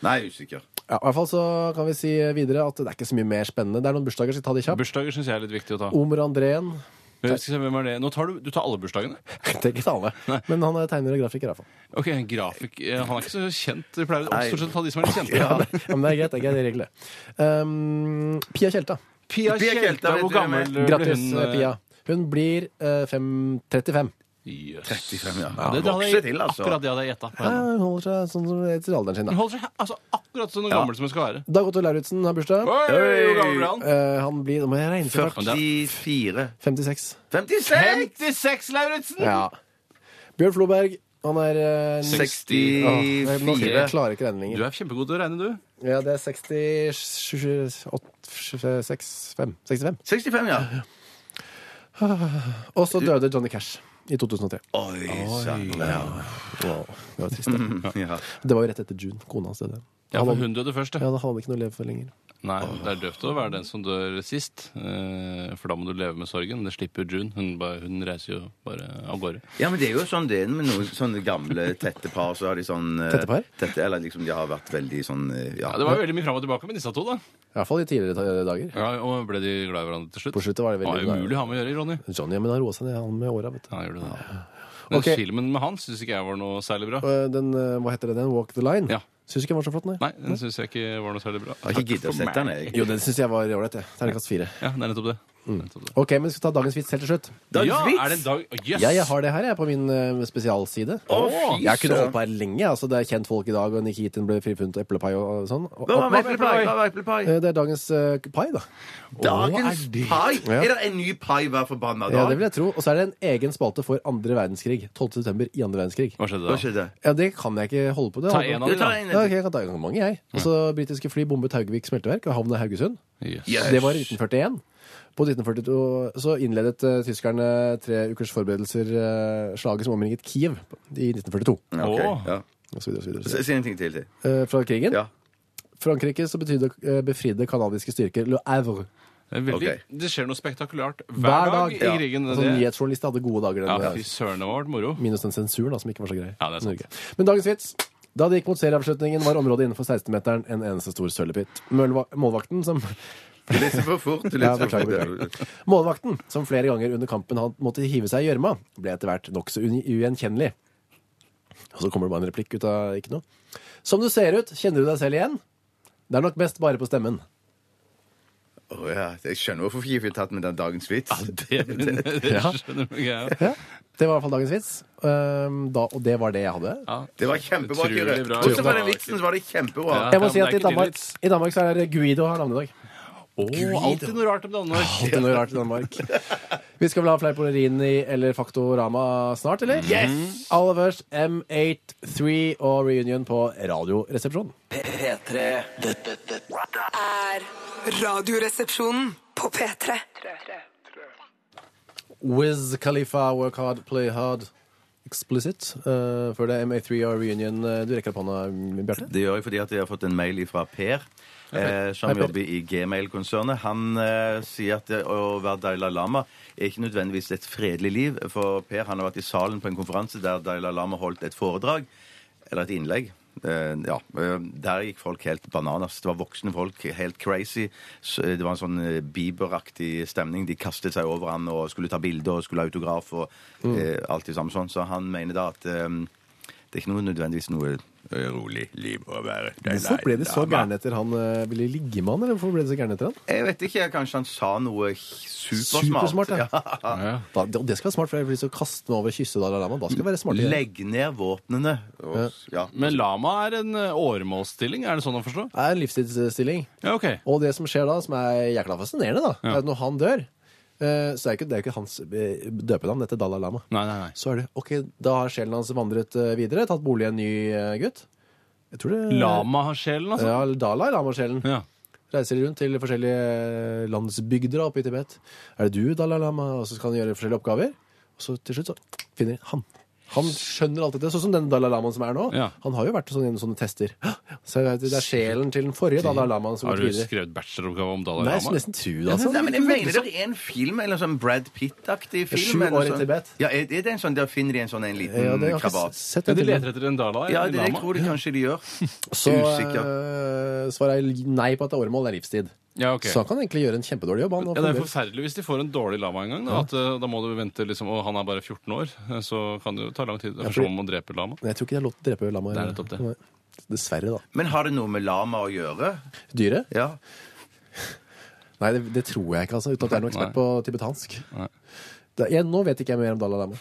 Nei, usikker. Ja, I hvert fall så kan vi si videre at det er ikke så mye mer spennende. Det er noen bursdager, så ta de kjapt. Bursdager syns jeg er litt viktig Oh, å ta. Omer Andreen. Men Skal vi se, hvem er det? Nå tar du, du tar alle bursdagene? Det er ikke alle, men han er tegner og grafiker, i hvert fall. Ok, en grafik eh, Han er ikke så kjent. Vi pleier å Nei. stort sett ta de som er litt kjente. Ja, men det er greit. Det er greit regler. Um, Pia Tjelta. Pia Pia Tjelta, Tjelta, vet hvor du hvem er? gammel ble Grattis, hun? eh, Pia. Hun blir eh, fem- 35. Jøss. 35, ja. Det, det hadde Vokser jeg, til, altså. Akkurat det hadde jeg gjetta. Ja, hun holder seg sånn som til alderen sin. Hun Da. holder seg altså, akkurat sånn gammel som hun skal være. Dag Otto Lauritzen har bursdag. Oi, hvor gammel ble han? Eh, han blir nå må jeg regne for fart. 44 56. 56! 56, Lauritzen! Ja. Bjørn Floberg. Han er eh, ni- Seks- 64 Åh, nå- Jeg klarer ikke regne Du lenger. er kjempegod til å regne, du. Ja, det er 60 65. 65. 65, ja. Og så døde Johnny Cash i 2003. Oi sann. Ja. Wow, det var trist. Mhm. Mm, da. Ja. Det var jo rett etter June. Kona hans døde. Ja, for hun døde først, Ja, ja. da hadde han ikke noe å leve for lenger. Nei, det er døvt å være den som dør sist. eh, For da må du leve med sorgen. Det slipper June. Hun, bare, hun reiser jo bare av gårde. Ja, men det er jo sånn det er med noen sånne gamle tette par. Så har de sånn eh, Tette par? Tette, eller liksom de har vært veldig sånn eh, Ja. Ja, det var jo veldig mye fram og tilbake med disse to, da. I hvert fall i tidligere dager. Ja, og Ble de glad i hverandre til slutt? På sluttet var det veldig Det var umulig å ha med å gjøre, Ronny. Johnny, ja, men han roa seg ned, han med åra, vet du. Ja, gjør det da. Men Ok. filmen med han syns ikke jeg var noe særlig bra. Og Den, eh, hva heter det, den? Walk the Line? Ja. Syns ikke den var så flott, nei. Nei, den syns jeg ikke var noe særlig bra. Jeg har ikke giddet å sette den, jeg. Jo, den syns jeg var ålreit, jeg. Terningkast fire. Ja, det er nettopp det. Nettopp det. Ok, men vi skal ta dagens vits helt til slutt. Dagens ja, vits! er det en Mm. dag Å, Jøss! Ja, jeg har det her, jeg, på min eh, spesialside. fy jeg kunne søren. holdt på her lenge. altså Det er kjentfolk i dag, og Nikitin ble frifunnet og eplepai og, og sånn. Og, Hva var med eplepai? Hva var eplepai? Eh, det er dagens eh, pai, da. Dagens pai? Ja. Er det en ny pai hver forbanna dag? Ja, det vil jeg tro. Og så er det en egen spalte for andre verdenskrig. 12. september i andre verdenskrig. Hva skjedde da? Hva skjedde? Ja, Det kan jeg ikke holde på. Det. Ta en av Mm. Du de, da. tar en Ja, ok, jeg kan ta en mange, jeg. Altså, Britiske fly bombet Haugvik smelteverk og havna i Haugesund. Yes. Yes. Det var i 1941. På 1942 så innledet eh, tyskerne tre ukers forberedelser eh, slaget som omringet Kiev i 1942. Ja, ok, Åh. ja. Og så videre, og så videre, og så Si videre. si en ting til. til. Eh, fra krigen. Ja. Frankrike så betydde, eh, befridde kanadiske styrker Le Havre Det, er veldig, Ok. det skjer noe spektakulært hver, hver dag, dag. i krigen. Altså, det, Nyhetsjournalister hadde gode dager. ja, Den, Fy søren, det var moro. Minus den sensuren da, som ikke var så grei. Ja, det er sant. Norge. Men dagens vits. Da det gikk mot serieavslutningen, var området innenfor 16-meteren en eneste stor sølepytt. Mølva- Målvakten som Du leser for fort. Du Ja, leser for beklager, fort. beklager. Målvakten, som flere ganger under kampen han måtte hive seg i gjørma, ble etter hvert nokså uni- ugjenkjennelig. Og så kommer det bare en replikk ut av ikke noe. Som du ser ut, kjenner du deg selv igjen? Det er nok best bare på stemmen. Åh, ja. Jeg skjønner hvorfor ikke vi har tatt med den dagens vits. Det, det, det skjønner du ikke jeg. Ja, Det var i hvert fall dagens vits. Ehm, da, og det var det jeg hadde. Ja. Det var kjempebra, Utrolig Kyrre. bra. Bortsett fra den vitsen, så var det kjempebra. Ja. Jeg må men si det at i er ikke din Danmark, vits. i Danmark så er Guido har navnedag. Å, alltid noe rart om Danmark. Alltid noe rart i Danmark. Vi skal vel ha Fleipolirini eller Faktorama snart, eller? Yes! Aller først M83 og Reunion på Radioresepsjonen. P3 Dette, dette er Radioresepsjonen på P3. Wiz Khalifa, work hard, play hard. Explicit. Eh, før det er M83 og Reunion. Eh, Du rekker opp hånda, Bjarte. Det gjør jeg fordi at jeg har fått en mail fra Per. Eh, som Hei, Per. jobber i Gmail-konsernet. Han eh, sier at det å være Dalai Lama er ikke nødvendigvis et fredelig liv. For Per han har vært i salen på en konferanse der Dalai Lama holdt et foredrag. Eller et innlegg. Eh, ja, eh, Der gikk folk helt bananas. Det var voksne folk, helt crazy. Så, eh, Det var en sånn eh, Bieber-aktig stemning. De kastet seg over han og skulle ta bilder og skulle ha Mm. autograf og eh, alt det samme sånn. Så han mener da at eh, det er ikke noe nødvendigvis noe rolig liv å være. Hvorfor ble de så gærne etter han? eh, Ville de ligge med han, eller hvorfor ble de så gærne etter han? Jeg vet ikke. Kanskje han sa noe supersmart. Supersmart, ja. ja. Da, det, og det skal være smart, for jeg vil så kaste meg over og kysse Dalai Lama. Da skal jeg være smart. igjen. Legg ned våpnene. Og, ja. Men lama er en eh, åremålsstilling, er det sånn å forstå? Det er en livstidsstilling. Ja, ok. Og det som skjer da, som er jækla fascinerende, da, er at når han dør, eh, så er det ikke, det er jo ikke hans eh, døpenavn etter Dalai Lama. Nei, nei, nei. Så er det OK, da har sjelen hans vandret eh, videre, tatt bolig i en ny eh, gutt. Jeg tror det Lama-sjelen, altså? Ja, Dalai Lama-sjelen. Ja. Reiser rundt til forskjellige eh, landsbygder oppe i Tibet. Er det du, Dalai Lama? Og så skal han gjøre forskjellige oppgaver. Og så til slutt så finner de han. Han skjønner alt dette, sånn som den Dalai Lamaen som er nå. Ja. Han har jo vært sånn gjennom sånne tester. Så det er- det er sjelen til den forrige Dalai Lamaen som har Har gått du videre. skrevet bacheloroppgave om Dalai Nei, jeg skulle Lama? nesten tro det, altså. Nei, men jeg mener det er en film, eller sånn Brad Pitt-aktig film. Sju eller år i sånn. Tibet. Ja, er er det en sånn, Der finner de en sånn en liten Ja, det har jeg ikke krabat. sett. Mm, Men den de filmen. leter etter en Dalai Ja, en det, jeg Lama? tror de kanskje de gjør. Så Usikker. eh, svaret er nei på at det er åremål, det er livstid. Ja, ok. Så han kan egentlig gjøre en kjempedårlig jobb. Han, og Ja, Det er fremdeles- forferdelig hvis de får en dårlig lama en gang. Da, at, eh, da må du vente liksom, Og han er bare 14 år, eh, så kan det jo ta lang tid. Det er fordi- som om å drepe lama. Men jeg tror ikke det er lov til å drepe lamaer. Det er nettopp det. Nei. Dessverre, da. Men har det noe med lama å gjøre? Dyret? Ja. Nei, det, det tror jeg ikke, altså, uten at jeg er noen ekspert Nei. på tibetansk. Nei. Det, jeg, nå vet ikke jeg mer om Dalai Lama.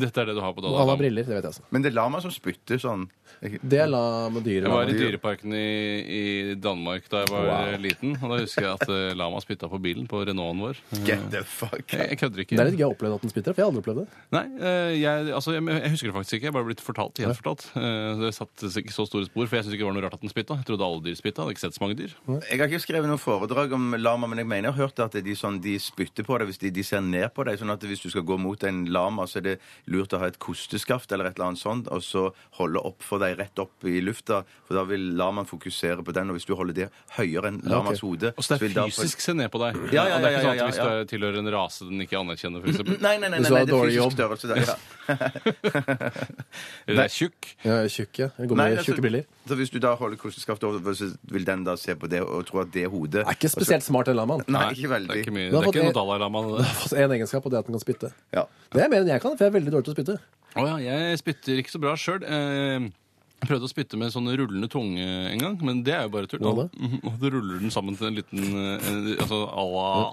Dette er det du har på Han Dalai har Lama. briller, det vet jeg. altså. Men det er lama som spytter sånn. Ikke- Det er lamadyret. Jeg var i Lama. Dyreparken i, i Danmark da jeg var eh, Wow. liten, og da husker jeg at eh, lama spytta på bilen, på Renaulten vår. Get the fuck Jeg, jeg kødder Det ikke. er litt gøy å oppleve at den spytter, for jeg har aldri opplevd det. Nei, eh, jeg, altså, jeg, jeg husker det faktisk ikke. Jeg er bare blitt fortalt, gjenfortalt. Eh, Det satte seg ikke så store spor, for jeg syns ikke det var noe rart at den spytta. Jeg trodde alle dyr spytta. Hadde ikke sett så mange dyr. Jeg har ikke skrevet noe foredrag om lama, men jeg mener jeg har hørt at de, sånn, de spytter på deg hvis de, de ser ned på deg. sånn at hvis du skal gå mot en lama, så er det lurt å ha et kosteskaft eller et eller annet sånt, og så holde opp for deg rett opp i lufta, for da vil lamaen fokusere på den. Og hvis du holder det høyere enn lamas hode Og så så det er vil da- fysisk se ned på deg. Ja, ja, Og det er ikke ja, sånn ja, at hvis ja, ja. du tilhører en rase den ikke anerkjenner, for eksempel. Nei, nei, nei, Hvis du nei, nei har det er dårlig fysisk jobb. størrelse der. Ja. Eller er tjukk. Jeg er tjukk, ja. Jeg går med Nei, altså, tjukke briller. Så hvis du da holder kosteskaftet over, så vil den da se på det og tro at det er hodet. Er ikke Altså- Og så- spesielt smart, den lamaen. Nei, det ikke er veldig. ikke, Du mye. Det har er ikke fått noe Dalai Lama. det der. Altså, En egenskap, og det er at den kan spytte. Ja. Det er mer enn jeg kan, for jeg er veldig dårlig til å spytte. Å ja, jeg spytter ikke så bra sjøl. Jeg prøvde å spytte med sånn rullende tunge en gang, men det er jo bare tull. Hva da? Mhm, Og så ruller den sammen til en liten eh, Altså Allah.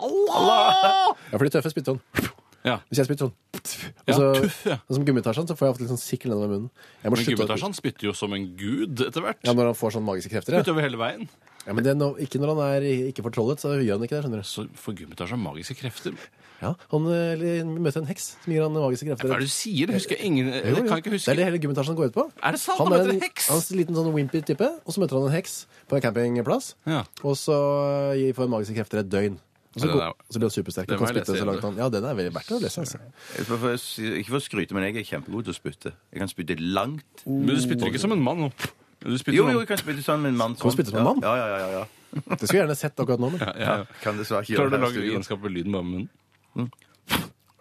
Ja, for de tøffe spytter sånn. Ja. Hvis jeg spytter sånn, og Ja, så, tuff, ja. og som gummitasjen, så får jeg ofte litt sånn sikkel nedover munnen. Jeg må Men slutte å- Gubbetasjan spytter jo som en gud etter hvert. Ja, når han får sånne magiske krefter. Ja. Utover hele veien. Ja, men det er no, ikke når han er i- ikke fortrollet, så gjør han ikke det, skjønner du. Så får Gubbetasjan magiske krefter. Ja, han eh, eller møter en heks som gir han magiske krefter. Hva er det du sier? Det husker jeg ingen Jo, jo. Jeg kan ikke Det huske. er det hele gymmetasjen går ut på. Er det sant? Han Han er møter en, en heks? Han er en liten sånn wimpy type, og så møter han en heks på en campingplass. Ja. Og så eh, gir- får han magiske krefter et døgn. Og så, Ja, den går, er- så blir han supersterk. og kan den må jeg spytte lese så langt han. igjen, Ja, den er veldig verdt å lese. Altså. For- for- Ikke for å skryte, men jeg er kjempegod til å spytte. Jeg kan spytte langt. Mm. Men du spytter ikke som en mann. nå. Du spytter Jo, som en- jo, jeg kan spytte sånn med en mann. Kan du spytte som en mann? Ja, ja, ja, ja, ja. Det skulle jeg gjerne sett akkurat nå. Men. Ja, ja. Kan dessverre ikke gjøre det her Klarer du å i lage studio. gjenskapelig lyd med munnen? Mm.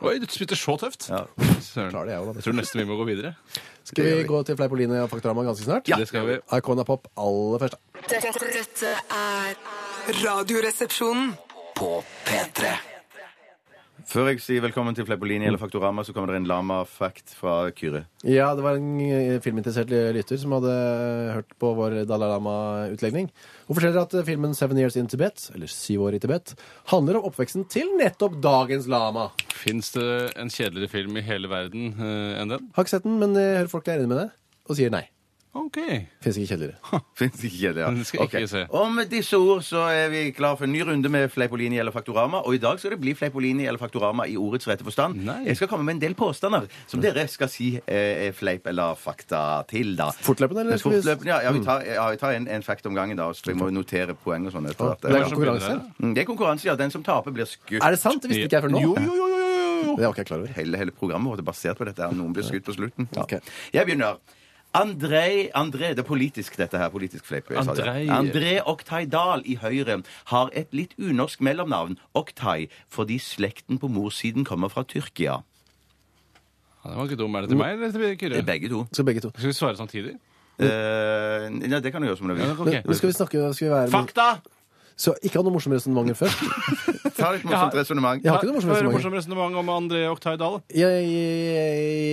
Oi, du spytter så tøft! Ja. Søren. Klarer det jeg også, da. Jeg tror nesten vi må gå videre. Skal vi gå til Fleipolini og Faktorama ganske snart? Det skal vi. Her kommer Pop aller først. Dette, dette er Radioresepsjonen. På P3 Før jeg sier velkommen til Fleipolini eller Faktorama, så kommer det en lama-fact fra Kyrre. Ja, det var en eh, filminteressert lytter som hadde hørt på vår Dalai Lama-utlegning. Hun forteller at eh, filmen Seven Years in Tibet, eller Syv år i Tibet, handler om oppveksten til nettopp dagens lama. Fins det en kjedeligere film i hele verden eh, enn den? Har ikke sett den, men jeg hører folk er enige med det, og sier nei. OK. Fins ikke kjedeligere. Fins ikke det, ja. Den skal ikke Ok. se. Og med disse ord så er vi klar for en ny runde med Fleipolini eller Faktorama. Og i dag skal det bli Fleipolini eller Faktorama i ordets rette forstand. Nei. Jeg skal komme med en del påstander som dere skal si eh, er fleip eller fakta til, da. Fortløpende, eller? skal vi- Mm. Fortløpende, ja. ja, vi tar, ja, vi tar en, en fact om gangen, da. Så vi må notere poeng og sånn. etter hvert. Det er Hvem som konkurranse. begynner her? Mm, Det er konkurranse, ja. Den som taper, blir skutt. Er det sant? Det visste ikke jeg før nå. Jo, jo, jo, jo, jo, jo. Det var ikke jeg klar over. hele, hele programmet vårt er basert på dette. her. Noen blir skutt på slutten. Ja. Ok. Jeg begynner. André, André, Det er politisk, dette her. Politisk fleip. jeg sa det. Andrei. André Oktay Dahl i Høyre har et litt unorsk mellomnavn, Oktay, fordi slekten på morssiden kommer fra Tyrkia. Ja, den var ikke dum. Er det til meg eller til Det Kyrre? er begge to. Skal begge to. Skal vi svare samtidig? Eh, ja, det kan du gjøre som du vil. Ja, ok. Men skal vi snakke skal vi være Fakta! Så ikke ha noe morsomme resonnementer først. Ta litt morsomt resonnement. Jeg har ikke noe morsomt Hva er det resonnement. morsomt resonnement om André Oktay Dahl? Jeg, jeg,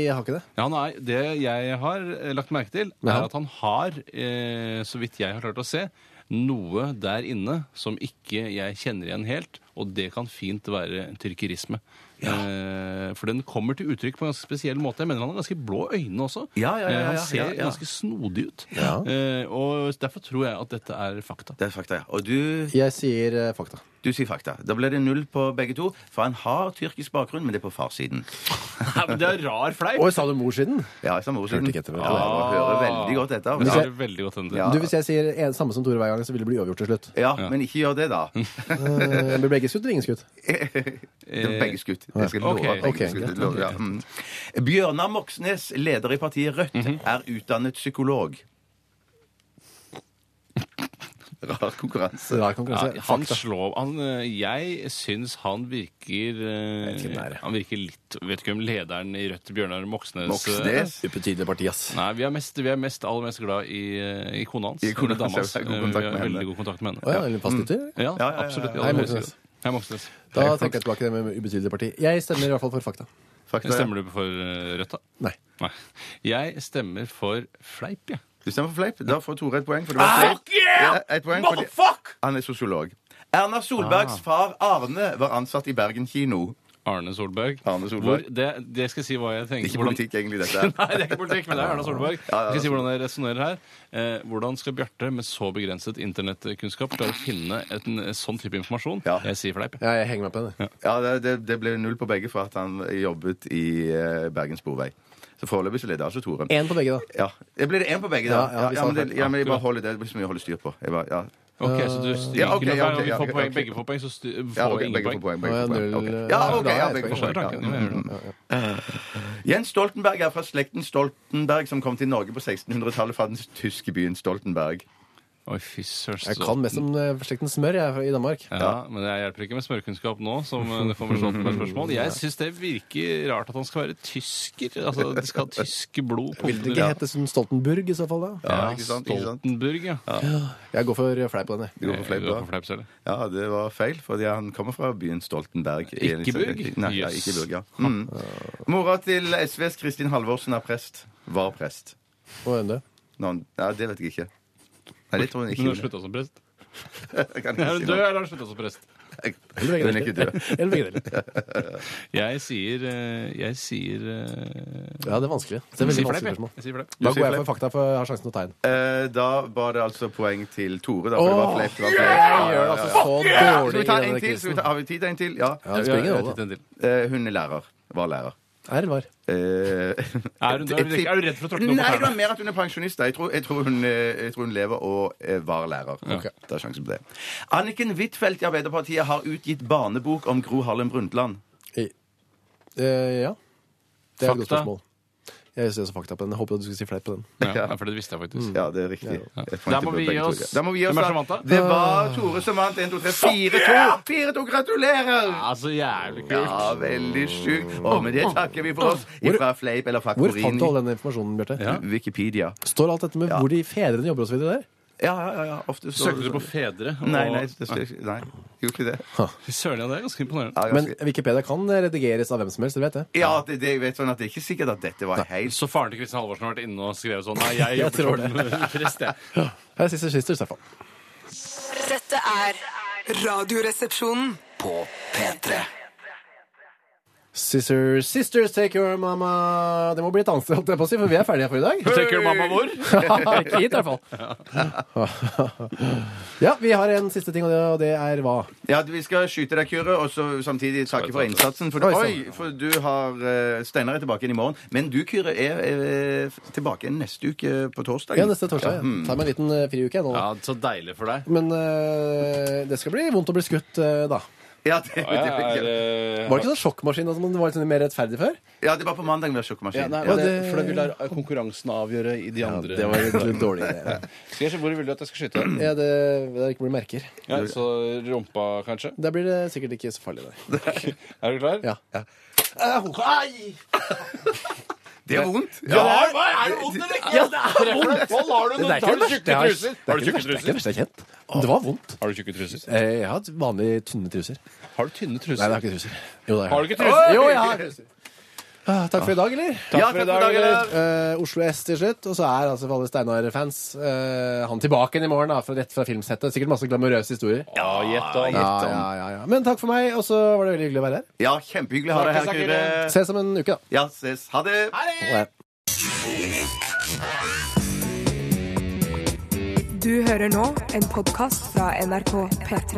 jeg har ikke det. Ja, nei, Det jeg har eh, lagt merke til, Ja. er at han har, eh, så vidt jeg har klart å se, noe der inne som ikke jeg kjenner igjen helt. Og det kan fint være tyrkerisme. Eh, for den kommer til uttrykk på en ganske spesiell måte. Jeg mener han har ganske blå øyne også. Ja, ja, ja, Eh, ja, han ser ja, ja. ganske snodig ut. Eh, og derfor tror jeg at dette er fakta. Det er fakta, ja. Og du, Jeg sier eh, fakta. du sier fakta. Da blir det null på begge to. For han har tyrkisk bakgrunn, men det er på farssiden. Nei, men det er rar fleip! Oi, sa du morsiden? Ja, i samme ordsiden. Hørte ikke etter, vet du. Ja, jeg hører veldig godt etter. Det Ja. er veldig godt hende. Ja. Du, Hvis jeg sier en, samme som Tore hver gang, så vil det bli uavgjort til slutt. Ja, men ikke gjør det, da. Eh, Blir begge skutt eller ingen skutt? Det er Begge skutt. Jeg skal love. Ok, at begge ok, skutt. greit, Love, ja. Mm. Bjørnar Moxnes, leder i partiet Rødt, er utdannet psykolog. Rar konkurranse. Rar konkurranse. Ja, han Fakta. slår han, eh, Jeg syns han virker eh, vet ikke hvem det er, jeg. Han virker litt Vet ikke om lederen i Rødt, Bjørnar Moxnes, eh, Moxnes. Ubetydelig parti, ass. Nei, vi er, mest, vi er mest, aller mest glad i, eh, i kona hans. I kona eller dama hans, hans. ja, vi har god Eh, kontakt vi har med henne. veldig god kontakt med henne. Å ja, eller fast lytter? Ja, ja, ja. absolutt. Hei, Ja, det må jeg Moxnes. si. Hei, Moxnes. Da tenker jeg tilbake det med ubetydelig parti. Jeg stemmer i hvert fall for fakta. Fakta, ja. Stemmer du for eh, Rødt, da? Nei. Nei. Jeg stemmer for Fleip, jeg. Du stemmer for fleip. Da får Tore et poeng. For det var fleip. Ja, et poeng fordi han er sosiolog. Erna Ah. Solbergs far Arne var ansatt i Bergen kino. Arne Solberg. Arne Solberg. Hvor, det, det skal jeg si hva jeg Det tenker. er Ikke hvordan- politikk, egentlig, Nei, dette. det er ikke politikk, men det er Erna Solberg. Ja, ja, Skal jeg si hvordan jeg resonnerer her. Eh, hvordan skal Bjarte, med så begrenset internettkunnskap, klare å finne et, en sånn type informasjon? Ja. Jeg sier fleip. jeg. Ja, jeg henger meg på den. jeg. Ja, det, det, det ble null på begge for at han jobbet i eh, Bergen Sporvei. Så foreløpig så leder altså Tore. Én på begge, da. Ja. Det blir det én på begge, da. Ja, Ja, ja, vi sa men, det, det. ja, men jeg bare holder det. Det blir så mye å holde styr på. Jeg bare, ja. Ok, så du stryker Ja, ok, noe. ja, Hver gang ok, vi ja, får ok, poeng, ok. begge får poeng, så stu- Ja, får ok, ingen begge får poeng. poeng. Begge Nå er får jeg poeng. null, ok. eh, Ja, da ok, er ja, jeg begge får Skjønner poeng. tanken, Ja. mm. jeg mener det. Jens Stoltenberg er fra slekten Stoltenberg, som kom til Norge på 1600-tallet fra den tyske byen Stoltenberg. Oi, fy søren. Jeg så- kan mest om eh, slekten smør jeg, er i Danmark. Ja, Men jeg hjelper ikke med smørkunnskap nå. som eh, det kommer sånn med spørsmål. Mm. Jeg syns det virker rart at han skal være tysker. Altså, Det skal ha tysk blod. på Vil det Ja. ikke hete som Stoltenburg i så fall, da? Ja, ikke sant, ikke sant. Stoltenburg, ja. Jeg går for eh, fleip på den, jeg. Det går for fleip, Jeg går da. for fleip selv. Ja, det var feil, fordi han kommer fra byen Stoltenberg. i- Ikke Burg? Nei, ja, Jøss. ikke Burg, ja. Mm. Mora til SVs Kristin Halvorsen er prest. Var prest. Må jeg undre. Nå, ja, det vet jeg ikke. Nei, det tror jeg ikke. Hun har slutta som prest. Jeg kan Er ikke hun si død, noe. eller har hun slutta som prest? Hun er ikke død. Eller begge deler. Jeg sier eh, Jeg sier eh, Ja, det er vanskelig. Det er veldig vanskelig sier fleip, spørsmål. jeg. jeg sier fleip. Da sier går jeg fleip. for fakta, for jeg har sjansen til å tegne. Eh, Da var det altså poeng til Tore, da, for det var Åh, fleip. det var fleip. Ja, Jeg ja, gjør ja, det ja. altså så Skal dårlig vi i ta denne en til? Skal vi ta, quizen. har vi tid til en til? Ja. Ja, det spiller ingen rolle, da. Titt en til. Eh, Hun er lærer. Var lærer. Er var. Eh, Er hun- er hun- er hun redd for å tråkke noen på Nei, det var tærne? mer at hun er pensjonist. da. Jeg tror, jeg tror, hun, eh, jeg tror hun lever og eh, var lærer. Ok. Det er sjansen på det. Anniken Huitfeldt i Arbeiderpartiet har utgitt barnebok om Gro Harlem Brundtland. I- Eh, ja. Det er et godt Fakta. spørsmål. Jeg synes også fakta på den. Jeg håper at du skulle si fleip på den. Ja, nei, for det visste jeg Mm. faktisk. Ja, det er riktig. Et poeng Der til må vi begge gi to, oss. ja. Da må vi gi oss Hvem er da. som vant, da? Det var Tore som vant. 1, 2, 3, 4, 2. 4, 2. Gratulerer! Ja, så jævlig kult. Ja, veldig sjukt. Og med det takker vi for oss ifra Fleip eller Hvor fant du Faktorini. all den informasjonen, Bjarte? Wikipedia. Står alt dette med Ja. hvor de fedrene jobber og så videre der? Ja, ja, ja, ja. Ofte så Søkte du på fedre? og- Nei, nei, det, det, nei. Gjorde ikke det. Fy søren, ja, det er ganske imponerende. Ja, Men ganske- Wikipedia kan redigeres av hvem som helst, du vet det. ja det, det, jeg vet sånn at det er ikke sikkert at dette var helt Så faren til Kristin Halvorsen har vært inne og skrevet sånn Nei, jeg Jeg jobber tror som prest, jeg. Her er siste skister, Stefan. Dette er Radioresepsjonen. På P3 Sisters, sisters, take your mama Det må bli et annet sted, holdt jeg på å si, for vi er ferdige for i dag. Take your mamma hvor? Ikke hit, i hvert fall. Ja, vi har en siste ting, og det- og det er hva? Ja, vi skal skyte deg, Kyrre, og så samtidig takke for innsatsen. For, du, Oi, sann. oi, for du har eh, Steinar er tilbake igjen i morgen. Men du, Kyrre, er, eh, tilbake igjen neste uke på torsdag. Ja, neste torsdag. Ja. Hmm. Tar meg en liten eh, friuke jeg, nå. Ja, så deilig for deg. Men eh, det skal bli vondt å bli skutt eh, da. Ja, det, Ja, jeg det, er, eh, Var det ikke sånn sjokkmaskin at man var litt mer rettferdig før? ja, det var på mandag vi har sjokkemaskin. ja, nei, Ja, men det, det- for da vil jeg la konkurransen avgjøre i de andre Det var litt, litt dårlig idé. Skal jeg se hvor vil du at jeg skal skyte? Ja, det, det ikke blir merker. Ja, så rumpa, kanskje? Da blir det sikkert ikke så farlig. Der. Er du klar? Ja. Au! Ai! Det er vondt. Ja, hva er det vondt eller ikke? Ja, det er vondt! Hva har du Det noe? er ikke det Har du verste tjukke jeg har- truser? det er Har du ikke det tjukke verste- det er ikke det truser? verste jeg har kjent. Men det var vondt. Har du tjukke truser? Eh, Jeg har hatt vanlige, tynne truser. Har du tynne Nei, jeg har truser? ikke truser. Jo, det Har du jeg. ikke truser? Jo, jeg har truser. Ah, Takk for i dag, eller? Takk Ja, for i takk for i dag, dag. eller? Eh, Oslo S til slutt. Og så er altså for alle Steinar-fans eh, han tilbake igjen i morgen, da, fra, rett fra filmsettet. Sikkert masse glamorøse historier. Ja, gjett da. Ja, ja, ja, ja. Men takk for meg, og så var det veldig hyggelig å være her. Ja, kjempehyggelig å ha deg her, Snakkes, Kyrre. Ses om en uke, da. Ja, ses. Ha det. Ha det. Du hører nå en podkast fra NRK P3.